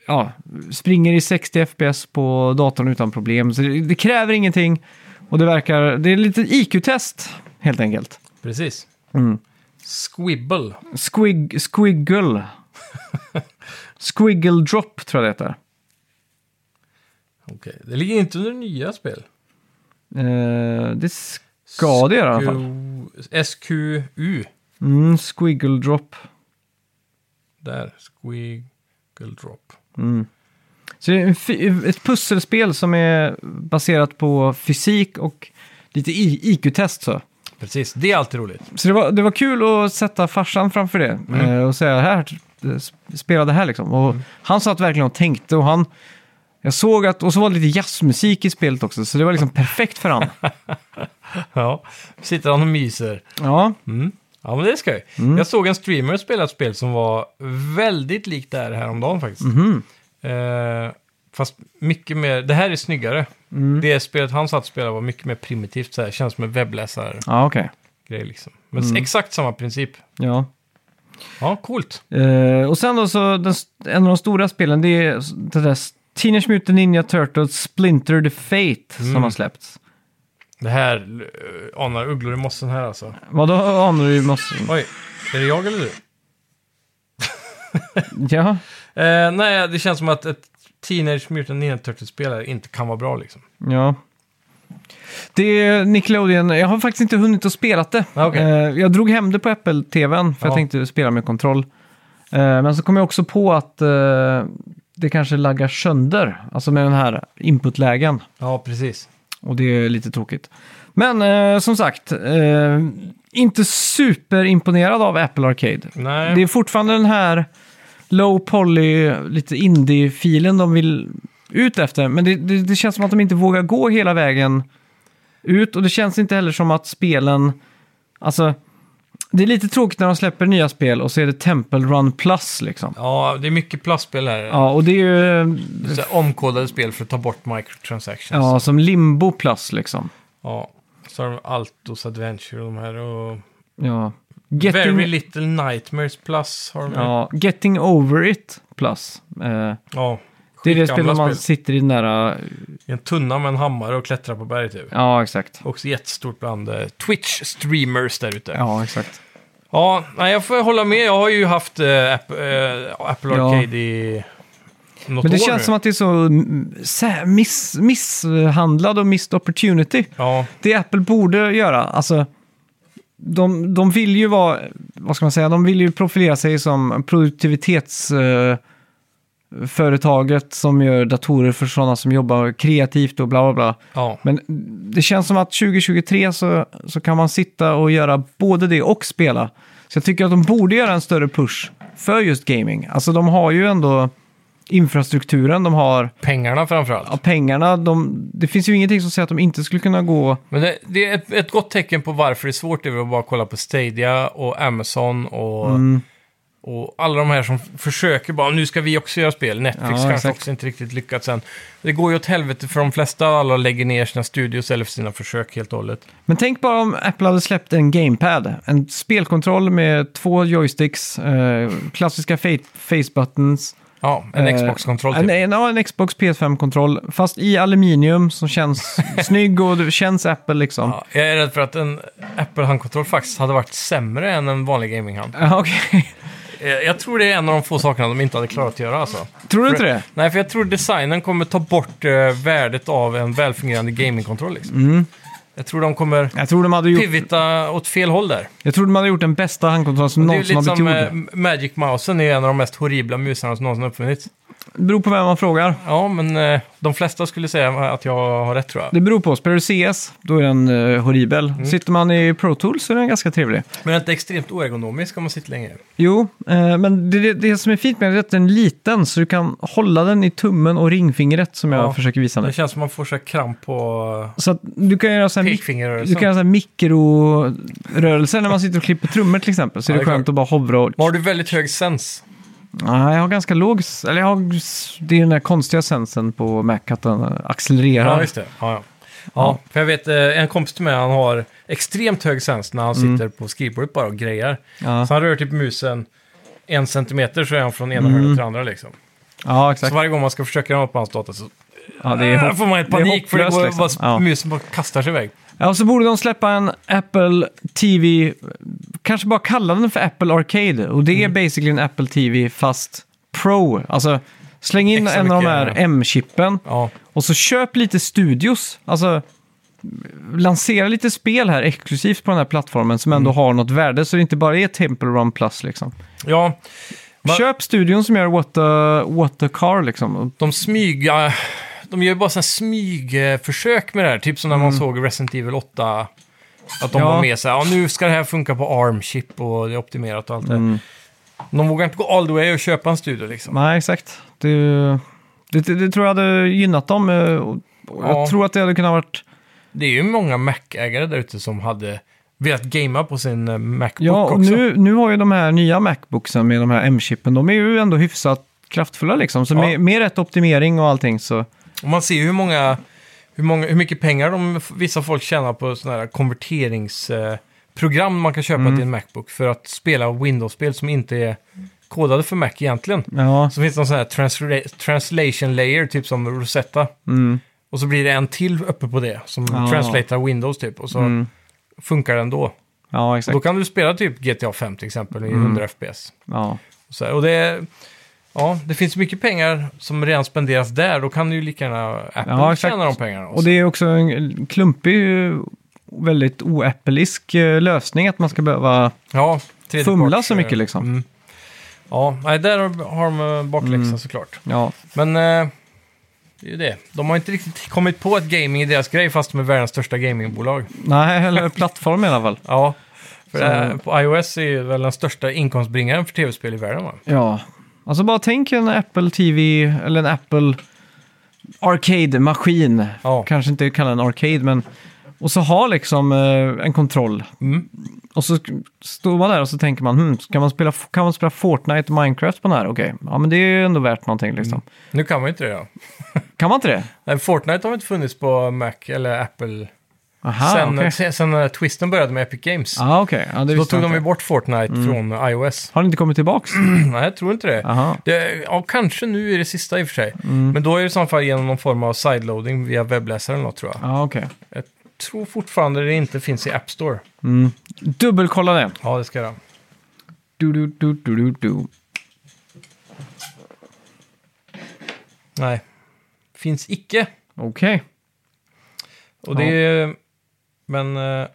Speaker 2: ja, springer i 60 FPS på datorn utan problem. Så det, det kräver ingenting. Och det verkar, det är lite IQ-test helt enkelt.
Speaker 3: precis.
Speaker 2: Mm.
Speaker 3: Squibble.
Speaker 2: Squig, squiggle. squiggle drop tror jag det heter.
Speaker 3: Okej, det ligger inte under nya spel.
Speaker 2: Eh, det ska det göra i alla fall.
Speaker 3: fall. SQU.
Speaker 2: Mm, squiggle drop.
Speaker 3: Där, Squiggle Drop.
Speaker 2: Så det är en fy- ett pusselspel som är baserat på fysik och lite I- IQ-test så.
Speaker 3: Precis, det är alltid roligt.
Speaker 2: Så det var, det var kul att sätta farsan framför det eh, och säga här, eh, spela det här liksom. Och han satt verkligen och tänkte och han, jag såg att, och så var det lite jazzmusik i spelet också, så det var liksom perfekt för han.
Speaker 3: Ja, sitter han och myser.
Speaker 2: Ja,
Speaker 3: Mm. Ja, men det ska jag. Jag såg en streamer spela ett spel som var väldigt likt det här häromdagen faktiskt. Eh, fast mycket mer, det här är snyggare. Det spelet han satt och spelade var mycket mer primitivt, så här, känns som en webbläsargrej
Speaker 2: ja okej.
Speaker 3: liksom. Men exakt samma princip.
Speaker 2: Ja.
Speaker 3: Ja, coolt.
Speaker 2: Eh, och sen då så, den, st- en av de stora spelen, det är det där Teenage Mutant Ninja Turtles Splinter the Fate som har släppts.
Speaker 3: Det här eh, anar ugglor i mossen här alltså.
Speaker 2: Vadå anar du? Måste...
Speaker 3: Oj, är det jag eller du?
Speaker 2: Ja,
Speaker 3: Eh, nej, det känns som att ett Teenage Mutant Ninja Turtles-spelare inte kan vara bra liksom.
Speaker 2: ja. Det är Nickelodeon, jag har faktiskt inte hunnit att spela det.
Speaker 3: Ah, okej.
Speaker 2: Eh, jag drog hem det på Apple-TVn för
Speaker 3: Ja.
Speaker 2: jag tänkte spela med kontroll. Eh, men så kom jag också på att eh, det kanske laggar sönder, alltså med den här inputlägen.
Speaker 3: Ja, precis.
Speaker 2: Och det är lite tråkigt. Men eh, som sagt, eh, inte superimponerad av Apple Arcade.
Speaker 3: Nej.
Speaker 2: Det är fortfarande den här low poly, lite indie-filen de vill ut efter. Men det, det, det känns som att de inte vågar gå hela vägen ut. Och det känns inte heller som att spelen... Alltså, det är lite tråkigt när de släpper nya spel och så är det Temple Run Plus liksom.
Speaker 3: Ja, det är mycket plastspel här.
Speaker 2: Ja, och det är ju...
Speaker 3: Så här, omkodade spel för att ta bort microtransactions. Ja.
Speaker 2: Ja, som Limbo Plus liksom.
Speaker 3: Så har de Altos Adventure och de här. Och
Speaker 2: Ja. Getting-
Speaker 3: Very Little Nightmares Plus har de. Ja.
Speaker 2: Ja, Getting Over It Plus. Eh,
Speaker 3: ja.
Speaker 2: det är det
Speaker 3: skitgamla
Speaker 2: spel där man
Speaker 3: spel.
Speaker 2: sitter i den där... eh,
Speaker 3: I en tunna med en hammare och klättrar på berg typ.
Speaker 2: Ja, exakt.
Speaker 3: Också jättestort bland eh, Twitch-streamers där ute. Ja,
Speaker 2: Ja, exakt.
Speaker 3: nej, jag får hålla med. Jag har ju haft eh, App, eh, Apple
Speaker 2: Ja.
Speaker 3: Arcade i något
Speaker 2: Men det
Speaker 3: år
Speaker 2: känns
Speaker 3: nu.
Speaker 2: som att det är så mm, sä- miss, misshandlad och missed opportunity.
Speaker 3: Ja,
Speaker 2: Det Apple borde göra, alltså... De, de vill ju vara, vad ska man säga, de vill ju profilera sig som produktivitets... Eh, företaget som gör datorer för sådana som jobbar kreativt och bla bla bla.
Speaker 3: Ja.
Speaker 2: Men det känns som att 2023 så, så kan man sitta och göra både det och spela. Så jag tycker att de borde göra en större push för just gaming. Alltså de har ju ändå infrastrukturen, de har
Speaker 3: Pengarna framförallt.
Speaker 2: ja, pengarna. De, det finns ju ingenting som säger att de inte skulle kunna gå...
Speaker 3: Men det, det är ett, ett gott tecken på varför det är svårt är väl att bara kolla på Stadia och Amazon och,
Speaker 2: Mm.
Speaker 3: och alla de här som försöker bara, nu ska vi också göra spel.
Speaker 2: Ja,
Speaker 3: Netflix kanske
Speaker 2: exakt.
Speaker 3: också inte riktigt lyckats än. Det går ju åt helvete för de flesta, alla lägger ner sina studios eller sina försök helt och hållet.
Speaker 2: Men tänk bara om Apple hade släppt en gamepad, en spelkontroll med två joysticks, eh, klassiska fa- face buttons.
Speaker 3: Ja, en
Speaker 2: Eh,
Speaker 3: Xbox-kontroll
Speaker 2: En,
Speaker 3: typ.
Speaker 2: en, ja, en Xbox PS5-kontroll, fast i aluminium som känns snygg och det känns Apple liksom.
Speaker 3: Ja, jag är rädd för att en Apple handkontroll faktiskt hade varit sämre än en vanlig gaminghand.
Speaker 2: Ja, okej.
Speaker 3: Eh, Jag tror det är en av de få sakerna de inte hade klarat att göra alltså.
Speaker 2: Tror du inte det?
Speaker 3: Nej, för jag tror designen kommer ta bort eh, värdet av en välfungerande gamingkontroll. Liksom.
Speaker 2: Mm.
Speaker 3: Jag tror de kommer
Speaker 2: Jag tror de hade
Speaker 3: Typ.
Speaker 2: gjort,
Speaker 3: pivota åt fel håll där.
Speaker 2: jag tror de hade gjort den bästa handkontrollen som
Speaker 3: Det är ju
Speaker 2: någonsin
Speaker 3: lite
Speaker 2: har blivit
Speaker 3: som
Speaker 2: gjord.
Speaker 3: eh, Magic Mousen är en av de mest horribla musarna som någonsin uppfunnits. eh,
Speaker 2: Det beror på vem man frågar.
Speaker 3: Ja, men eh, de flesta skulle säga att jag har rätt tror jag.
Speaker 2: Det beror på. Spelar du CS, då är den eh, horribel.
Speaker 3: Mm.
Speaker 2: Sitter man i Pro Tools så är den ganska trevlig.
Speaker 3: Men det är inte extremt oergonomiskt om man sitter länge.
Speaker 2: Jo, eh, men det, det, det som är fint med den är att den är liten så du kan hålla den i tummen och ringfingret som jag
Speaker 3: Ja.
Speaker 2: försöker visa nu.
Speaker 3: Det känns som man får så här kramp på
Speaker 2: Så att du kan göra så här mik- du
Speaker 3: pekfingerrörelsen.
Speaker 2: kan göra så här mikrorörelser när man sitter och klipper trummor till exempel. Så är
Speaker 3: Ja,
Speaker 2: det
Speaker 3: det är
Speaker 2: skönt att bara hovra och...
Speaker 3: Men Har du väldigt hög sens?
Speaker 2: Nej, jag har ganska låg... s- Eller jag har... s- Det är den där konstiga sensen på Mac att den accelererar.
Speaker 3: Ja, just det. Ja, ja.
Speaker 2: Mm.
Speaker 3: Ja, för jag vet eh, en kompis till mig, han har extremt hög sens när han sitter på skrivbordet bara och grejar.
Speaker 2: Mm. Ja.
Speaker 3: Så han rör typ musen en centimeter så är han från ena
Speaker 2: Mm.
Speaker 3: hörnet till andra liksom.
Speaker 2: Ja,
Speaker 3: Så
Speaker 2: exakt.
Speaker 3: varje gång man ska försöka göra något på hans dator så
Speaker 2: Ja, det
Speaker 3: äh,
Speaker 2: är
Speaker 3: får man ett
Speaker 2: det är
Speaker 3: panik för det går,
Speaker 2: hopplöst, liksom.
Speaker 3: bara,
Speaker 2: Ja.
Speaker 3: musen bara kastar sig iväg.
Speaker 2: Ja, och så borde de släppa en Apple TV, kanske bara kalla den för Apple Arcade. Och det är
Speaker 3: Mm.
Speaker 2: basically en Apple TV fast Pro. Alltså, släng in
Speaker 3: Extra
Speaker 2: en av de
Speaker 3: mycket,
Speaker 2: här
Speaker 3: ja.
Speaker 2: M-chippen
Speaker 3: Ja,
Speaker 2: och så köp lite studios. Alltså, lansera lite spel här exklusivt på den här plattformen som
Speaker 3: Mm.
Speaker 2: ändå har något värde så det inte bara är Temple Run Plus liksom.
Speaker 3: ja Va-
Speaker 2: Köp studion som gör What the, what the Car liksom. Och-
Speaker 3: de smyg... äh, De gör ju bara sådana smygförsök med det här. Typ som när man såg Resident Evil 8. Att de
Speaker 2: Mm. Ja.
Speaker 3: var med så här, ja, nu ska det här funka på ARM-chip och det är optimerat och allt det
Speaker 2: Mm.
Speaker 3: här. De vågar inte gå all the way och köpa en studio liksom.
Speaker 2: Nej, exakt. Det, det, det, det tror jag hade gynnat dem. eh, Och, och
Speaker 3: Ja.
Speaker 2: Jag tror att det hade kunnat varit...
Speaker 3: Det är ju många Mac-ägare där ute som hade velat gamea på sin eh, Macbook
Speaker 2: Ja, och
Speaker 3: också.
Speaker 2: nu, nu har ju de här nya Macbooksen med de här M-chippen, de är ju ändå hyfsat kraftfulla liksom. Så
Speaker 3: Ja.
Speaker 2: med, med rätt optimering och allting så...
Speaker 3: Och man ser ju hur många, hur många, hur mycket pengar de, vissa folk tjänar på sådana här konverteringsprogram man kan köpa
Speaker 2: Mm.
Speaker 3: till en Macbook för att spela Windows-spel som inte är kodade för Mac egentligen.
Speaker 2: Ja,
Speaker 3: Så finns det någon sån här transla- translation layer, typ som Rosetta. Och så blir det en till uppe på det som
Speaker 2: Mm. Ja. Mm.
Speaker 3: translatar Windows typ. Och så funkar den då.
Speaker 2: ja
Speaker 3: Och då
Speaker 2: exakt.
Speaker 3: kan du spela typ GTA 5 till exempel i
Speaker 2: Mm.
Speaker 3: 100 FPS.
Speaker 2: Ja.
Speaker 3: Och, så här, och det, ja, det finns mycket pengar som redan spenderas där. Då kan ju lika gärna Apple
Speaker 2: Ja, exakt.
Speaker 3: tjäna de pengarna.
Speaker 2: Och det är också en klumpig, eh, väldigt oäppelisk eh, lösning att man ska behöva
Speaker 3: ja, tredje
Speaker 2: fumla
Speaker 3: part,
Speaker 2: så
Speaker 3: eh,
Speaker 2: mycket liksom.
Speaker 3: Mm. Ja, nej, där har har de eh, bakläxan
Speaker 2: Mm.
Speaker 3: såklart.
Speaker 2: Ja.
Speaker 3: Men eh, det är ju det. De har inte riktigt kommit på att gaming är deras grej fast de är världens största gamingbolag.
Speaker 2: Nej, eller plattform i alla fall.
Speaker 3: Ja, för
Speaker 2: Så-
Speaker 3: eh, på iOS är ju väl den största inkomstbringaren för tv-spel i världen va?
Speaker 2: Ja. Alltså bara tänk en Apple TV eller en Apple Arcade-maskin.
Speaker 3: Ja.
Speaker 2: Kanske inte kalla den Arcade, men... Och så ha liksom eh, en kontroll.
Speaker 3: Mm.
Speaker 2: Och så sk- står man där och så tänker man, hmm, kan, man spela, kan man spela Fortnite och Minecraft på den här? Okej, ja men det är ju ändå värt någonting
Speaker 3: Mm.
Speaker 2: liksom.
Speaker 3: Nu kan man ju inte det ja.
Speaker 2: Kan man inte det?
Speaker 3: Nej, Fortnite har inte funnits på Mac eller Apple
Speaker 2: Aha,
Speaker 3: sen,
Speaker 2: Ah, okej.
Speaker 3: sen, sen när twisten började med Epic Games.
Speaker 2: Ah, okej. Ja, det
Speaker 3: då
Speaker 2: visste
Speaker 3: tog
Speaker 2: jag
Speaker 3: de
Speaker 2: inte.
Speaker 3: ju
Speaker 2: Mm.
Speaker 3: bort Mm. Fortnite från iOS.
Speaker 2: Har den inte kommit tillbaks?
Speaker 3: Nej, jag tror inte det.
Speaker 2: Aha. Mm.
Speaker 3: det. Ja, kanske nu är det sista i och för sig. Men då är det i så fall genom någon form av sideloading via webbläsaren eller något tror jag.
Speaker 2: Ja, okej.
Speaker 3: Jag tror fortfarande det inte finns i App Store.
Speaker 2: Dubbelkolla det.
Speaker 3: Ja, det ska jag göra.
Speaker 2: Du, du, du, du, du, du.
Speaker 3: Nej, finns icke.
Speaker 2: Okej.
Speaker 3: Och det är... Men... eh,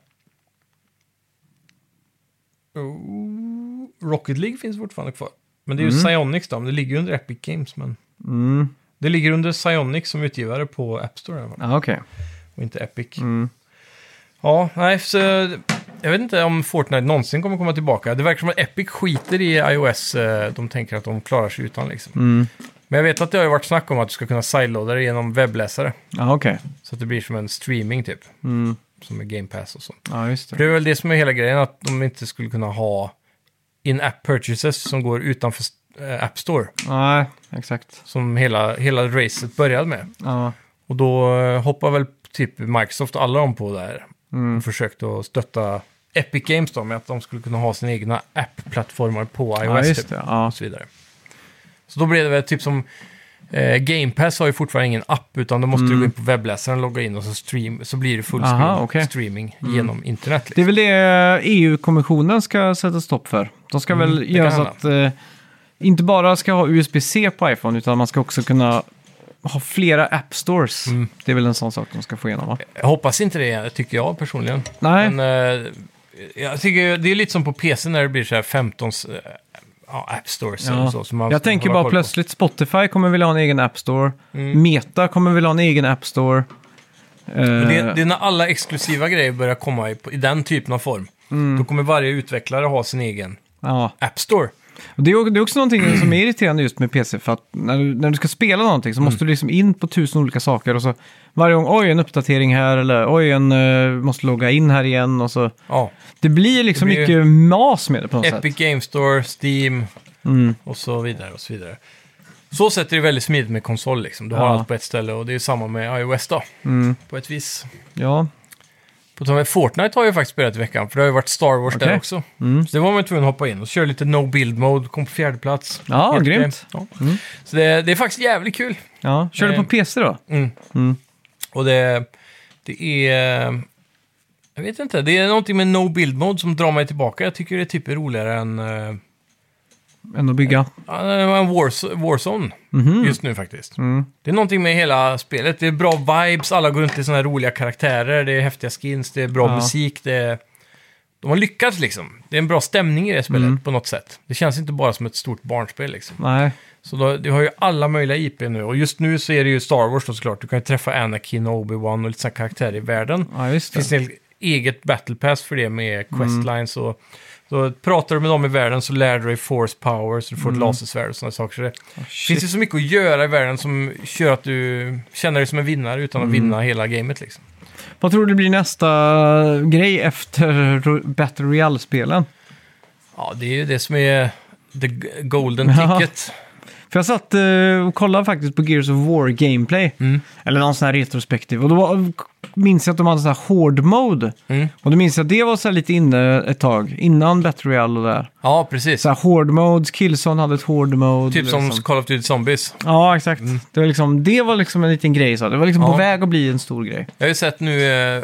Speaker 3: oh, Rocket League finns fortfarande kvar. Men det är ju Psyonix då, men det ligger ju under Epic Games. Men Det ligger under Psyonic som utgivare på App Store. i alla fall,
Speaker 2: Ja, okej.
Speaker 3: Och inte Epic. Ja, nej, så jag vet inte om Fortnite någonsin kommer komma tillbaka. Det verkar som att Epic skiter i iOS. eh, De tänker att de klarar sig utan liksom. Men jag vet att det har ju varit snack om att du ska kunna sideloada det genom webbläsare.
Speaker 2: Ja, okej.
Speaker 3: Så att det blir som en streaming typ. Som med Game Pass och sånt.
Speaker 2: Ja, just
Speaker 3: Det
Speaker 2: det.
Speaker 3: är väl det som är hela grejen, att de inte skulle kunna ha in-app purchases som går utanför eh, App Store.
Speaker 2: Nej, exakt.
Speaker 3: Som hela, hela racet började med.
Speaker 2: Ja,
Speaker 3: Och då eh, hoppar väl typ Microsoft och alla de på där.
Speaker 2: Mm.
Speaker 3: Och försökte att stötta Epic Games då, med att de skulle kunna ha sina egna app-plattformar på
Speaker 2: ja
Speaker 3: iOS
Speaker 2: just
Speaker 3: typ,
Speaker 2: det. Ja.
Speaker 3: och så vidare. Så då blev det väl typ som... Eh, Game Pass har ju fortfarande ingen app, utan då måste du gå in på webbläsaren, logga in och så, stream, så blir det full
Speaker 2: Mm. Aha,
Speaker 3: screen
Speaker 2: okej. Mm.
Speaker 3: streaming genom internet.
Speaker 2: Det
Speaker 3: Liksom.
Speaker 2: är väl det EU-kommissionen ska sätta stopp för. De ska väl
Speaker 3: Mm, det
Speaker 2: göra
Speaker 3: kan
Speaker 2: så att eh, inte bara ska ha USB-C på iPhone utan man ska också kunna ha flera app stores.
Speaker 3: Mm.
Speaker 2: Det är väl en sån sak de ska få igenom va?
Speaker 3: Jag hoppas inte det, tycker jag personligen.
Speaker 2: Nej,
Speaker 3: Men eh, jag tycker ju- det är lite som på PC när det blir så här 15 eh, ja, app stores eller
Speaker 2: ja.
Speaker 3: så. som man
Speaker 2: jag
Speaker 3: ska
Speaker 2: tänker
Speaker 3: hålla
Speaker 2: bara
Speaker 3: koll på. Mm.
Speaker 2: plötsligt Spotify kommer vilja ha en egen app store. Meta kommer vilja ha en egen app store.
Speaker 3: Men
Speaker 2: Eh,
Speaker 3: Det, det är när alla exklusiva grejer börjar komma i, i den typen av form.
Speaker 2: Mm.
Speaker 3: Då kommer varje utvecklare ha sin egen
Speaker 2: ja.
Speaker 3: app store.
Speaker 2: Och Det är o- det är också någonting som är irriterande just med PC, för att när du, när du ska spela någonting så
Speaker 3: Mm.
Speaker 2: måste du liksom in på tusen olika saker och så varje gång, oj en uppdatering här eller oj en eh, måste logga in här igen och så.
Speaker 3: Ja.
Speaker 2: Det blir liksom
Speaker 3: Det blir-
Speaker 2: mycket mas med det på något
Speaker 3: Epic
Speaker 2: sätt. Mm.
Speaker 3: Game Store, Steam och så vidare. och Så vidare. Så sätt är det väldigt smidigt med konsol. Liksom. Du har
Speaker 2: Ja. Mm.
Speaker 3: allt på ett ställe och det är ju samma med iOS då. På ett vis.
Speaker 2: Ja,
Speaker 3: På tal om Fortnite har jag ju faktiskt spelat i veckan, för det har ju varit Star Wars
Speaker 2: Okej. Mm.
Speaker 3: där också. Så det var man ju tvungen att hoppa in och köra lite no build mode, kom på fjärde plats.
Speaker 2: Ja,
Speaker 3: Helt
Speaker 2: grymt. Mm.
Speaker 3: okej. Ja. Så det, det är faktiskt jävligt kul.
Speaker 2: ja. Kör du på
Speaker 3: Eh.
Speaker 2: PC då?
Speaker 3: Och det, det är... Jag vet inte, det är någonting med no build mode som drar mig tillbaka. Jag tycker det är typ roligare än, eh,
Speaker 2: Än att bygga?
Speaker 3: ja, än Wars, Warzone
Speaker 2: Mhm.
Speaker 3: just nu faktiskt. Det är någonting med hela spelet. Det är bra vibes, alla går runt i sådana här roliga karaktärer, det är häftiga skins, det är bra
Speaker 2: Ja.
Speaker 3: musik, det är... De har lyckats liksom. Det är en bra stämning i det spelet
Speaker 2: Mm.
Speaker 3: på något sätt. Det känns inte bara som ett stort barnspel liksom.
Speaker 2: Nej,
Speaker 3: Så då, du har ju alla möjliga IP nu. Och just nu så är det ju Star Wars då såklart. Du kan ju träffa Anakin och Obi-Wan och lite sådana karaktärer i världen.
Speaker 2: ja just
Speaker 3: Det
Speaker 2: det.
Speaker 3: finns en eget battle pass för det med questlines
Speaker 2: Mm.
Speaker 3: och... Så pratar du med dem i världen så lär du dig force power, så du får ett
Speaker 2: Mm.
Speaker 3: lasersvärd och sådana saker.
Speaker 2: Oh,
Speaker 3: Så det finns ju så mycket att göra i världen som gör att du känner dig som en vinnare utan
Speaker 2: Mm.
Speaker 3: att vinna hela gamet liksom.
Speaker 2: Vad tror du blir nästa grej efter Ro- Battle Royale-spelen?
Speaker 3: Ja, det är ju det som är the golden
Speaker 2: Ja.
Speaker 3: ticket.
Speaker 2: För jag satt eh, och kollade faktiskt på Gears of War Gameplay.
Speaker 3: Mm.
Speaker 2: Eller någon sån här retrospektiv. Och då var- minns jag att de hade sån här hård mode.
Speaker 3: Mm.
Speaker 2: Och då minns jag att det var så här lite inne ett tag. Innan Battle Royale och där.
Speaker 3: Ja, precis.
Speaker 2: Så här hård mode, Killzone hade ett hård mode.
Speaker 3: Typ som
Speaker 2: liksom.
Speaker 3: Call of Duty Zombies.
Speaker 2: Ja, exakt. Det, var liksom, det var liksom en liten grej. Så. Det var liksom
Speaker 3: Ja.
Speaker 2: på väg att bli en stor grej.
Speaker 3: Jag har ju sett nu, eh,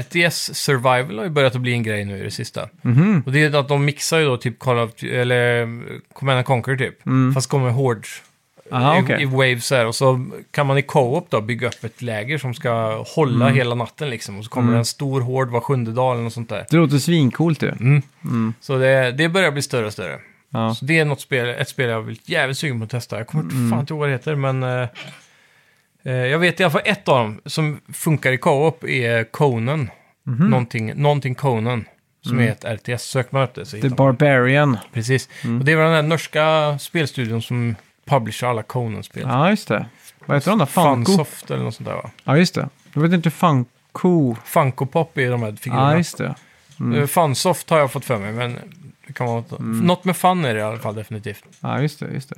Speaker 3: RTS Survival har ju börjat att bli en grej nu i det sista.
Speaker 2: Mhm.
Speaker 3: Och det är att de mixar ju då typ Call of, Duty- eller eh, Command and Conquer typ,
Speaker 2: Mm.
Speaker 3: fast kommer hård
Speaker 2: Aha,
Speaker 3: i,
Speaker 2: okej.
Speaker 3: i waves här. Och så kan man i co-op då bygga upp ett läger som ska hålla hela natten liksom. Och så kommer det en stor hård var sjunde dag eller något sånt där.
Speaker 2: Det låter svincoolt ju.
Speaker 3: Mm. Så det, det börjar bli större och större.
Speaker 2: Ja.
Speaker 3: Så det är något spel, ett spel jag har blivit jävligt sugen på att testa. Jag kommer mm. fan inte ihåg vad det heter, men... eh, eh, jag vet i alla fall ett av dem som funkar i co-op är Conan. Någonting, någonting Conan, som är ett RTS. Söker man upp det så
Speaker 2: The
Speaker 3: hittar man.
Speaker 2: Barbarian.
Speaker 3: Precis. Och det är väl den där norska spelstudion som publicerar alla Conan-spel.
Speaker 2: Ja, just det. Vad heter de där? Funko?
Speaker 3: Funsoft eller något sånt där va?
Speaker 2: Ja, just det. Jag vet inte Funko.
Speaker 3: Funko Pop är de här figurerna.
Speaker 2: Ja, just det. Mm.
Speaker 3: Eh, Funsoft har jag fått för mig, men det kan vara något, något med fun är det i alla fall definitivt.
Speaker 2: Ja, just det. Just det.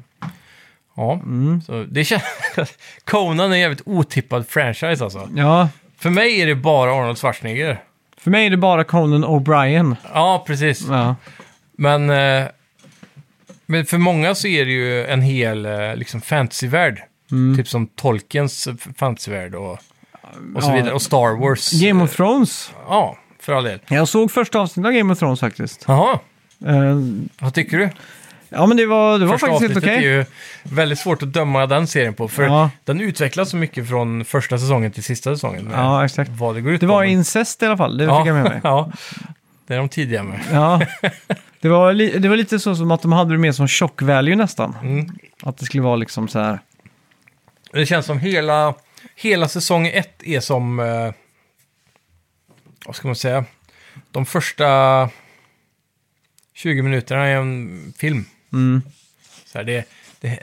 Speaker 3: Ja,
Speaker 2: Mm.
Speaker 3: så det känns... Conan är en jävligt otippad franchise alltså.
Speaker 2: Ja,
Speaker 3: För mig är det bara Arnold Schwarzenegger.
Speaker 2: För mig är det bara Conan O'Brien.
Speaker 3: Ja, precis.
Speaker 2: Ja.
Speaker 3: Men, eh, men för många så är det ju en hel eh, liksom fantasyvärld.
Speaker 2: Mm.
Speaker 3: Typ som Tolkiens eh, fantasyvärld och, och så
Speaker 2: Ja.
Speaker 3: vidare. Och Star Wars.
Speaker 2: Game of Thrones.
Speaker 3: Ja, för all del.
Speaker 2: Jag såg första avsnittet av Game of Thrones faktiskt.
Speaker 3: Jaha,
Speaker 2: Eh,
Speaker 3: vad tycker du?
Speaker 2: Ja, men det var, det var
Speaker 3: första
Speaker 2: faktiskt helt
Speaker 3: avsnittet
Speaker 2: okej.
Speaker 3: är ju väldigt svårt att döma den serien på. För
Speaker 2: Ja.
Speaker 3: den utvecklas så mycket från första säsongen till sista säsongen.
Speaker 2: Ja, exakt.
Speaker 3: Vad det går ut
Speaker 2: Det
Speaker 3: på,
Speaker 2: var
Speaker 3: men-
Speaker 2: incest i alla fall, det fick jag med mig.
Speaker 3: ja, det är de tidiga med.
Speaker 2: Ja. Det, var li- det var lite så som att de hade det mer som shock value nästan.
Speaker 3: Mm.
Speaker 2: Att det skulle vara liksom så här
Speaker 3: Det känns som hela, hela säsong ett är som... Eh, vad ska man säga? De första 20 minuterna är en film.
Speaker 2: Mm.
Speaker 3: Så här, det, det,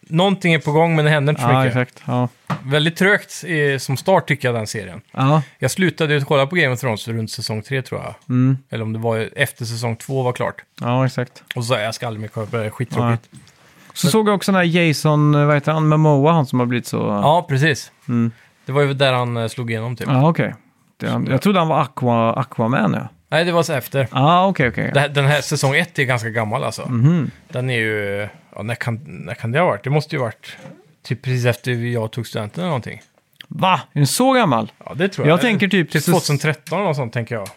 Speaker 3: någonting är på gång men det händer inte så
Speaker 2: Ja,
Speaker 3: mycket.
Speaker 2: exakt. Ja.
Speaker 3: Väldigt trögt eh, som start tycker jag den serien.
Speaker 2: Ja.
Speaker 3: Jag slutade ju kolla på Game of Thrones runt säsong tre tror jag.
Speaker 2: Mm.
Speaker 3: Eller om det var efter säsong två var klart.
Speaker 2: ja, exakt.
Speaker 3: Och så sa jag, jag ska aldrig mer kolla på det, här, skittråkigt.
Speaker 2: Så såg jag också den här Jason, eh, vad heter han, Momoa, han som har blivit så...
Speaker 3: Ja, precis.
Speaker 2: Mm.
Speaker 3: Det var ju där han eh, slog igenom typ.
Speaker 2: Ja, okej. Det- han- Jag trodde han var Aqua, Aquaman, ja.
Speaker 3: Nej, det var så efter.
Speaker 2: Ja, okej, okej.
Speaker 3: Det här- Den här säsong ett är ganska gammal alltså.
Speaker 2: Mhm.
Speaker 3: Den är ju, ja, när, kan, när kan det ha varit? Det måste ju ha varit typ precis efter jag tog studenten eller någonting.
Speaker 2: Va? Är den så gammal?
Speaker 3: Ja, det tror
Speaker 2: Jag,
Speaker 3: jag.
Speaker 2: tänker typ...
Speaker 3: Till 2013 eller något sånt tänker jag.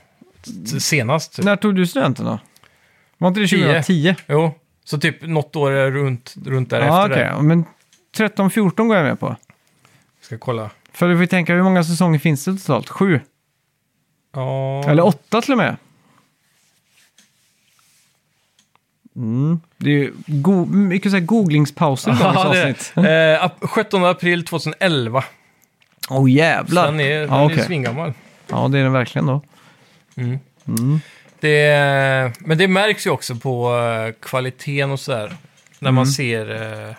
Speaker 3: S- Senast. Typ.
Speaker 2: När tog du studenten då? Var inte det
Speaker 3: Tio.
Speaker 2: 2010?
Speaker 3: Jo, så typ något år runt, runt därefter.
Speaker 2: Ja,
Speaker 3: där.
Speaker 2: Ah, okej. Men 13-14 går jag med på.
Speaker 3: Ska kolla.
Speaker 2: För vi får tänka, hur många säsonger finns det totalt? Sju?
Speaker 3: Ja,
Speaker 2: Eller åtta till och med? Mm. Det är ju go- mycket så här googlingspauser i dagens
Speaker 3: Ja,
Speaker 2: avsnitt.
Speaker 3: det, eh, ap- 17 april 2011.
Speaker 2: Åh jävlar!
Speaker 3: Så den är, den
Speaker 2: ja,
Speaker 3: är ju
Speaker 2: okej.
Speaker 3: svingammal.
Speaker 2: ja, det är den verkligen då.
Speaker 3: Det, är- men det märks ju också på eh, kvaliteten och sådär. När
Speaker 2: Mm.
Speaker 3: man ser eh,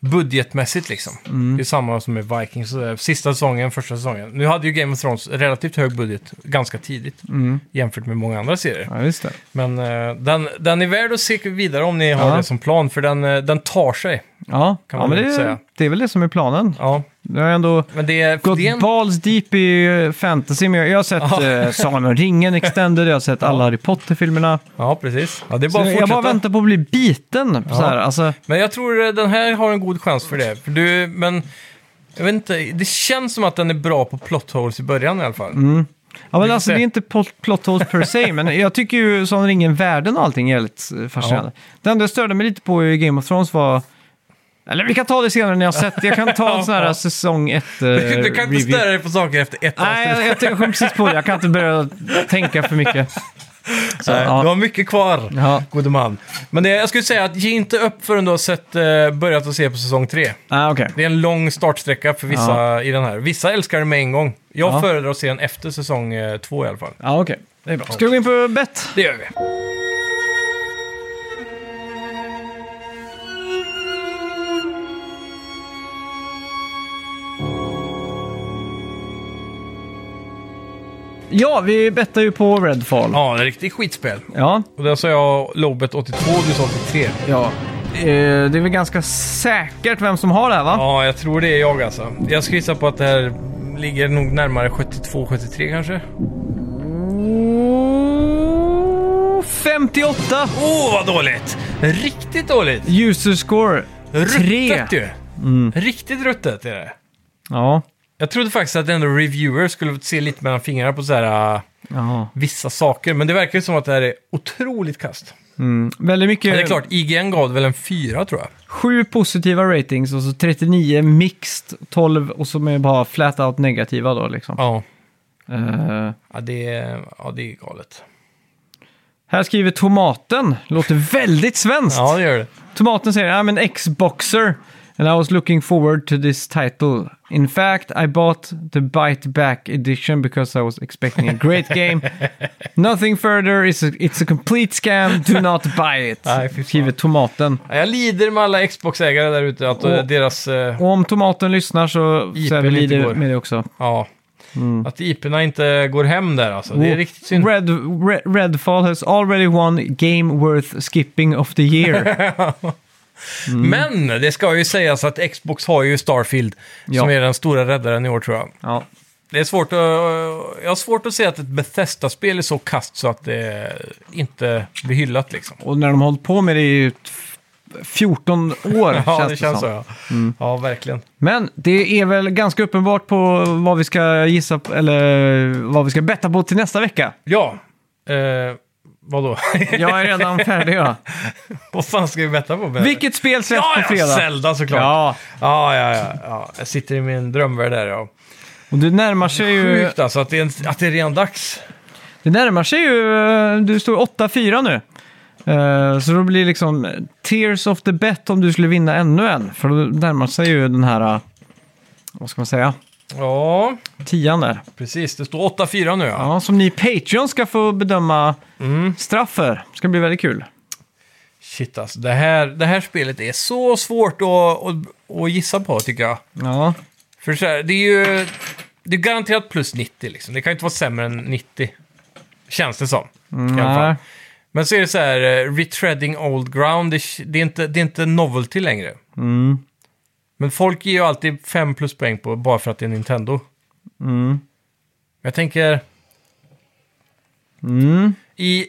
Speaker 3: budgetmässigt liksom.
Speaker 2: Mm.
Speaker 3: Det är samma som med Vikings. och sådär. Sista säsongen, första säsongen. Nu hade ju Game of Thrones relativt hög budget ganska tidigt.
Speaker 2: Mm.
Speaker 3: Jämfört med många andra serier.
Speaker 2: Ja, just det.
Speaker 3: Men eh, den, den är värd att se vidare om ni har
Speaker 2: Ja.
Speaker 3: det som plan. För den, eh, den tar sig.
Speaker 2: Ja,
Speaker 3: Kan
Speaker 2: ja
Speaker 3: man
Speaker 2: men
Speaker 3: lugnt
Speaker 2: det,
Speaker 3: säga.
Speaker 2: det är väl det som är planen.
Speaker 3: Ja,
Speaker 2: Det har ändå
Speaker 3: men det är...
Speaker 2: gått
Speaker 3: det är en-
Speaker 2: balls deep i eh, fantasy. Men jag, jag har sett
Speaker 3: Ja.
Speaker 2: eh, Sagan om ringen extended, jag har sett alla Harry Potter-filmerna.
Speaker 3: Ja, precis. Ja, det är
Speaker 2: Så
Speaker 3: bara att
Speaker 2: Jag bara
Speaker 3: fortsätta.
Speaker 2: väntar på att bli biten. Så här, alltså,
Speaker 3: Men jag tror eh, den här har en god chans för det. För du, men jag vet inte, det känns som att den är bra på plot holes i början i alla fall.
Speaker 2: Ja, men
Speaker 3: Vi
Speaker 2: alltså,
Speaker 3: får se.
Speaker 2: det är inte plot, plot holes per se, men jag tycker ju som ringen världen och allting är väldigt eh, fascinerande. Det enda jag störde mig lite på i Game of Thrones var... Eller vi kan ta det senare när jag har sett det. Jag kan ta en sån här säsong 1
Speaker 3: Du, du kan inte störa dig på saker efter ett
Speaker 2: Eh, Nej,
Speaker 3: avsnitt.
Speaker 2: jag, jag, jag kom precis på det. Jag kan inte börja tänka för mycket. Så,
Speaker 3: Nej, Du
Speaker 2: ja.
Speaker 3: har mycket kvar,
Speaker 2: Ja.
Speaker 3: gode man. Men det, jag skulle säga att ge inte upp förrän du har sett, eh, börjat att se på säsong tre.
Speaker 2: Ah, okej.
Speaker 3: Det är en lång startsträcka för vissa i den här. Vissa älskar det med en gång. Jag
Speaker 2: Ja.
Speaker 3: föredrar att se den efter säsong eh, två i alla fall.
Speaker 2: Ja, okej. Det är bra. Ska vi gå in på bett?
Speaker 3: Det gör vi.
Speaker 2: Ja, vi bettar ju på Redfall.
Speaker 3: Ja, det är riktigt skitspel.
Speaker 2: Ja,
Speaker 3: Och där sa jag Lobet 82, du sa 83.
Speaker 2: ja. Eh, Det är väl ganska säkert vem som har det här, va?
Speaker 3: Ja, jag tror det är jag alltså. Jag skulle gissa på att det här ligger nog närmare 72-73 kanske.
Speaker 2: Oh, 58!
Speaker 3: Åh, oh, vad dåligt! Riktigt dåligt!
Speaker 2: User score tre.
Speaker 3: Ruttet ju! Riktigt ruttet är det.
Speaker 2: Ja.
Speaker 3: Jag trodde faktiskt att ändå reviewer skulle se lite mellan fingrarna på så här äh,
Speaker 2: ja.
Speaker 3: vissa saker, men det verkar ju som att det här är otroligt kast.
Speaker 2: Mm. Väldigt mycket.
Speaker 3: Men det är klart, IGN gav det väl en fyra tror jag.
Speaker 2: Sju positiva ratings och så 39 mixed, 12 och så är bara flat out negativa då liksom.
Speaker 3: Ja.
Speaker 2: Eh,
Speaker 3: Ja, det är, ja, det är galet.
Speaker 2: här skriver Tomaten, låter väldigt svenskt.
Speaker 3: Ja, det gör det.
Speaker 2: Tomaten säger I'm an Xboxer and I was looking forward to this title. In fact, I bought the Bite Back edition because I was expecting a great game. Nothing further, it's a, it's a complete scam, do not buy it.
Speaker 3: Nej, fy fan.
Speaker 2: Skriver Tomaten.
Speaker 3: Ja, jag lider med alla Xbox-ägare där ute, att eh,
Speaker 2: Och-
Speaker 3: deras... eh,
Speaker 2: Och om Tomaten lyssnar så, så är vi
Speaker 3: IPn inte
Speaker 2: lider
Speaker 3: går.
Speaker 2: med det också.
Speaker 3: Ja.
Speaker 2: Mm.
Speaker 3: Att IP-erna inte går hem där alltså.
Speaker 2: Oh.
Speaker 3: Det är riktigt synd.
Speaker 2: Red, Red, Redfall has already won Game Worth Skipping of the Year. Mm.
Speaker 3: Men det ska ju sägas att Xbox har ju Starfield
Speaker 2: Ja.
Speaker 3: som är den stora räddaren i år tror jag.
Speaker 2: ja.
Speaker 3: Det är svårt att... Jag har svårt att se att ett Bethesda-spel är så kast så att det inte blir hyllat liksom.
Speaker 2: Och när de har hållit på med det i f- 14 år
Speaker 3: Ja,
Speaker 2: känns
Speaker 3: det
Speaker 2: det
Speaker 3: känns så.
Speaker 2: som. Mm.
Speaker 3: Ja, ja verkligen.
Speaker 2: Men det är väl ganska uppenbart på vad vi ska gissa på, eller vad vi ska betta på till nästa vecka.
Speaker 3: Ja, eh, vadå?
Speaker 2: Jag är redan färdig ja.
Speaker 3: Vad fan ska vi betta på? med?
Speaker 2: Vilket spel släpps
Speaker 3: Ja,
Speaker 2: på
Speaker 3: ja,
Speaker 2: fredag?
Speaker 3: Zelda såklart. Ja.
Speaker 2: Ja,
Speaker 3: Ja, ja, ja, Jag sitter i min drömvärld där ja.
Speaker 2: och det närmar sig ju...
Speaker 3: Sjukt alltså att det, är, att det är redan dags.
Speaker 2: Det närmar sig ju... eh, Du står 8-4 nu. Eh, Så då blir liksom tears of the bet om du skulle vinna ännu en. För då närmar sig ju den här eh, vad ska man säga,
Speaker 3: Ja,
Speaker 2: tian där.
Speaker 3: precis. Det står 8-4 nu ja.
Speaker 2: Ja, som ni Patreon ska få bedöma straff för. Ska bli väldigt kul.
Speaker 3: Shit alltså, det här, det här spelet är så svårt att, att, att gissa på tycker jag.
Speaker 2: Ja,
Speaker 3: För så här, det är ju det är garanterat plus 90 liksom. Det kan ju inte vara sämre än 90. Känns det som. I alla fall.
Speaker 2: nej.
Speaker 3: Men så är det så här, eh, retreading old ground, det, är- det, är, inte, det är inte novelty längre.
Speaker 2: Mm.
Speaker 3: Men folk ger ju alltid 5 plus poäng på bara för att det är Nintendo. Jag tänker,
Speaker 2: Mm.
Speaker 3: i,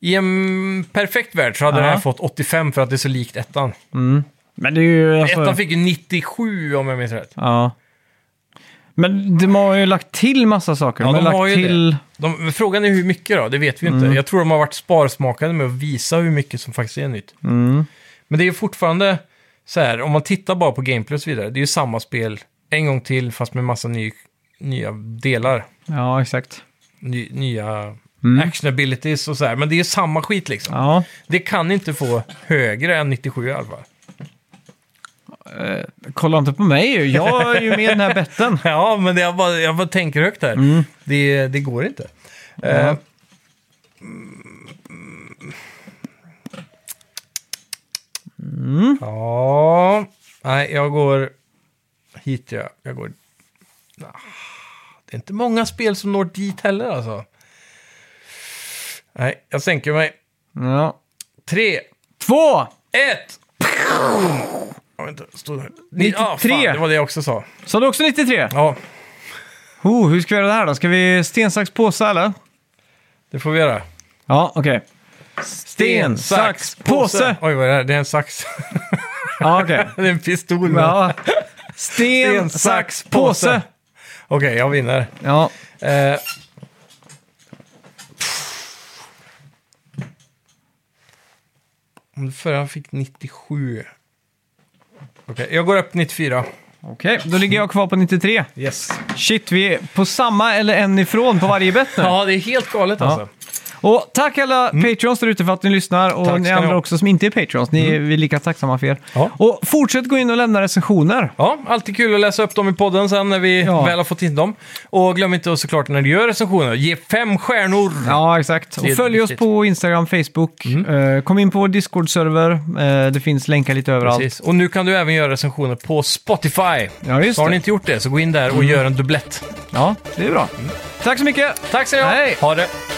Speaker 3: i en perfekt värld så hade
Speaker 2: Ja.
Speaker 3: den här fått 85 för att det är så likt ettan.
Speaker 2: Men det är ju... Alltså,
Speaker 3: Ettan fick ju 97 om jag minns rätt.
Speaker 2: Ja. Men de har ju lagt till massa saker.
Speaker 3: Ja,
Speaker 2: de
Speaker 3: de
Speaker 2: har
Speaker 3: har ju
Speaker 2: lagt till...
Speaker 3: det. De, men frågan är hur mycket då, det vet vi ju inte. Jag tror de har varit sparsmakade med att visa hur mycket som faktiskt är nytt. Men det är ju fortfarande så här, om man tittar bara på gameplay och så vidare, det är ju samma spel en gång till fast med massa ny, nya delar.
Speaker 2: Ja, exakt.
Speaker 3: Ny, nya action abilities och så här. Men det är ju samma skit liksom.
Speaker 2: Ja.
Speaker 3: Det kan inte få högre än 97 i alla fall.
Speaker 2: Kolla inte på mig Jag är ju med i den här betten.
Speaker 3: Ja, men det, jag, bara, jag bara tänker högt här. Det, det går inte. Eh, Ja, nej, jag går hit. Jag, jag går... Ah, Det är inte många spel som når dit heller alltså. Nej, jag sänker mig.
Speaker 2: Ja.
Speaker 3: Tre,
Speaker 2: Två!
Speaker 3: ett! Jag vet inte, stod här. Ni- ah, fan,
Speaker 2: 93.
Speaker 3: det var det jag också sa.
Speaker 2: Sa du också 93?
Speaker 3: Ja,
Speaker 2: Oh, hur ska vi göra det här då? Ska vi sten, sax, påse eller?
Speaker 3: det får vi göra.
Speaker 2: Ja, okej. Sten,
Speaker 3: Oj, vad är det här? Det är en sax.
Speaker 2: Ja, okej.
Speaker 3: det är en pistol. men-
Speaker 2: Ja. Sten, sax, påse.
Speaker 3: Okej, jag vinner.
Speaker 2: Ja.
Speaker 3: Eh. Om Förra fick 97. Okej, jag går upp 94.
Speaker 2: Okej, då ligger jag kvar på 93.
Speaker 3: Yes.
Speaker 2: Shit, vi är på samma eller en ifrån på varje bett nu.
Speaker 3: Ja, det är helt galet alltså.
Speaker 2: Och tack alla Patreons där ute för att ni lyssnar och
Speaker 3: Mm. Tack
Speaker 2: ni
Speaker 3: ska ni
Speaker 2: andra
Speaker 3: ha. Mm.
Speaker 2: också som inte är Patreons. Ni, Vi är lika tacksamma för er.
Speaker 3: Ja.
Speaker 2: Och fortsätt gå in och lämna recensioner.
Speaker 3: Ja, alltid kul att läsa upp dem i podden sen när vi
Speaker 2: Ja.
Speaker 3: väl har fått in dem. Och glöm inte att såklart när du gör recensioner, ge fem stjärnor!
Speaker 2: Ja, exakt. Och
Speaker 3: Det är
Speaker 2: följ oss
Speaker 3: viktigt. Mm.
Speaker 2: på Instagram, Facebook. Eh, kom in på vår Discord-server. Eh, det finns länkar lite överallt.
Speaker 3: Precis. Och nu kan du även göra recensioner på Spotify.
Speaker 2: Ja, just
Speaker 3: så har
Speaker 2: det. Mm.
Speaker 3: ni inte gjort det, så gå in där och gör en dubblett. Mm.
Speaker 2: Ja, det är bra. Tack så mycket!
Speaker 3: Tack så mycket!
Speaker 2: Hej.
Speaker 3: Ha det!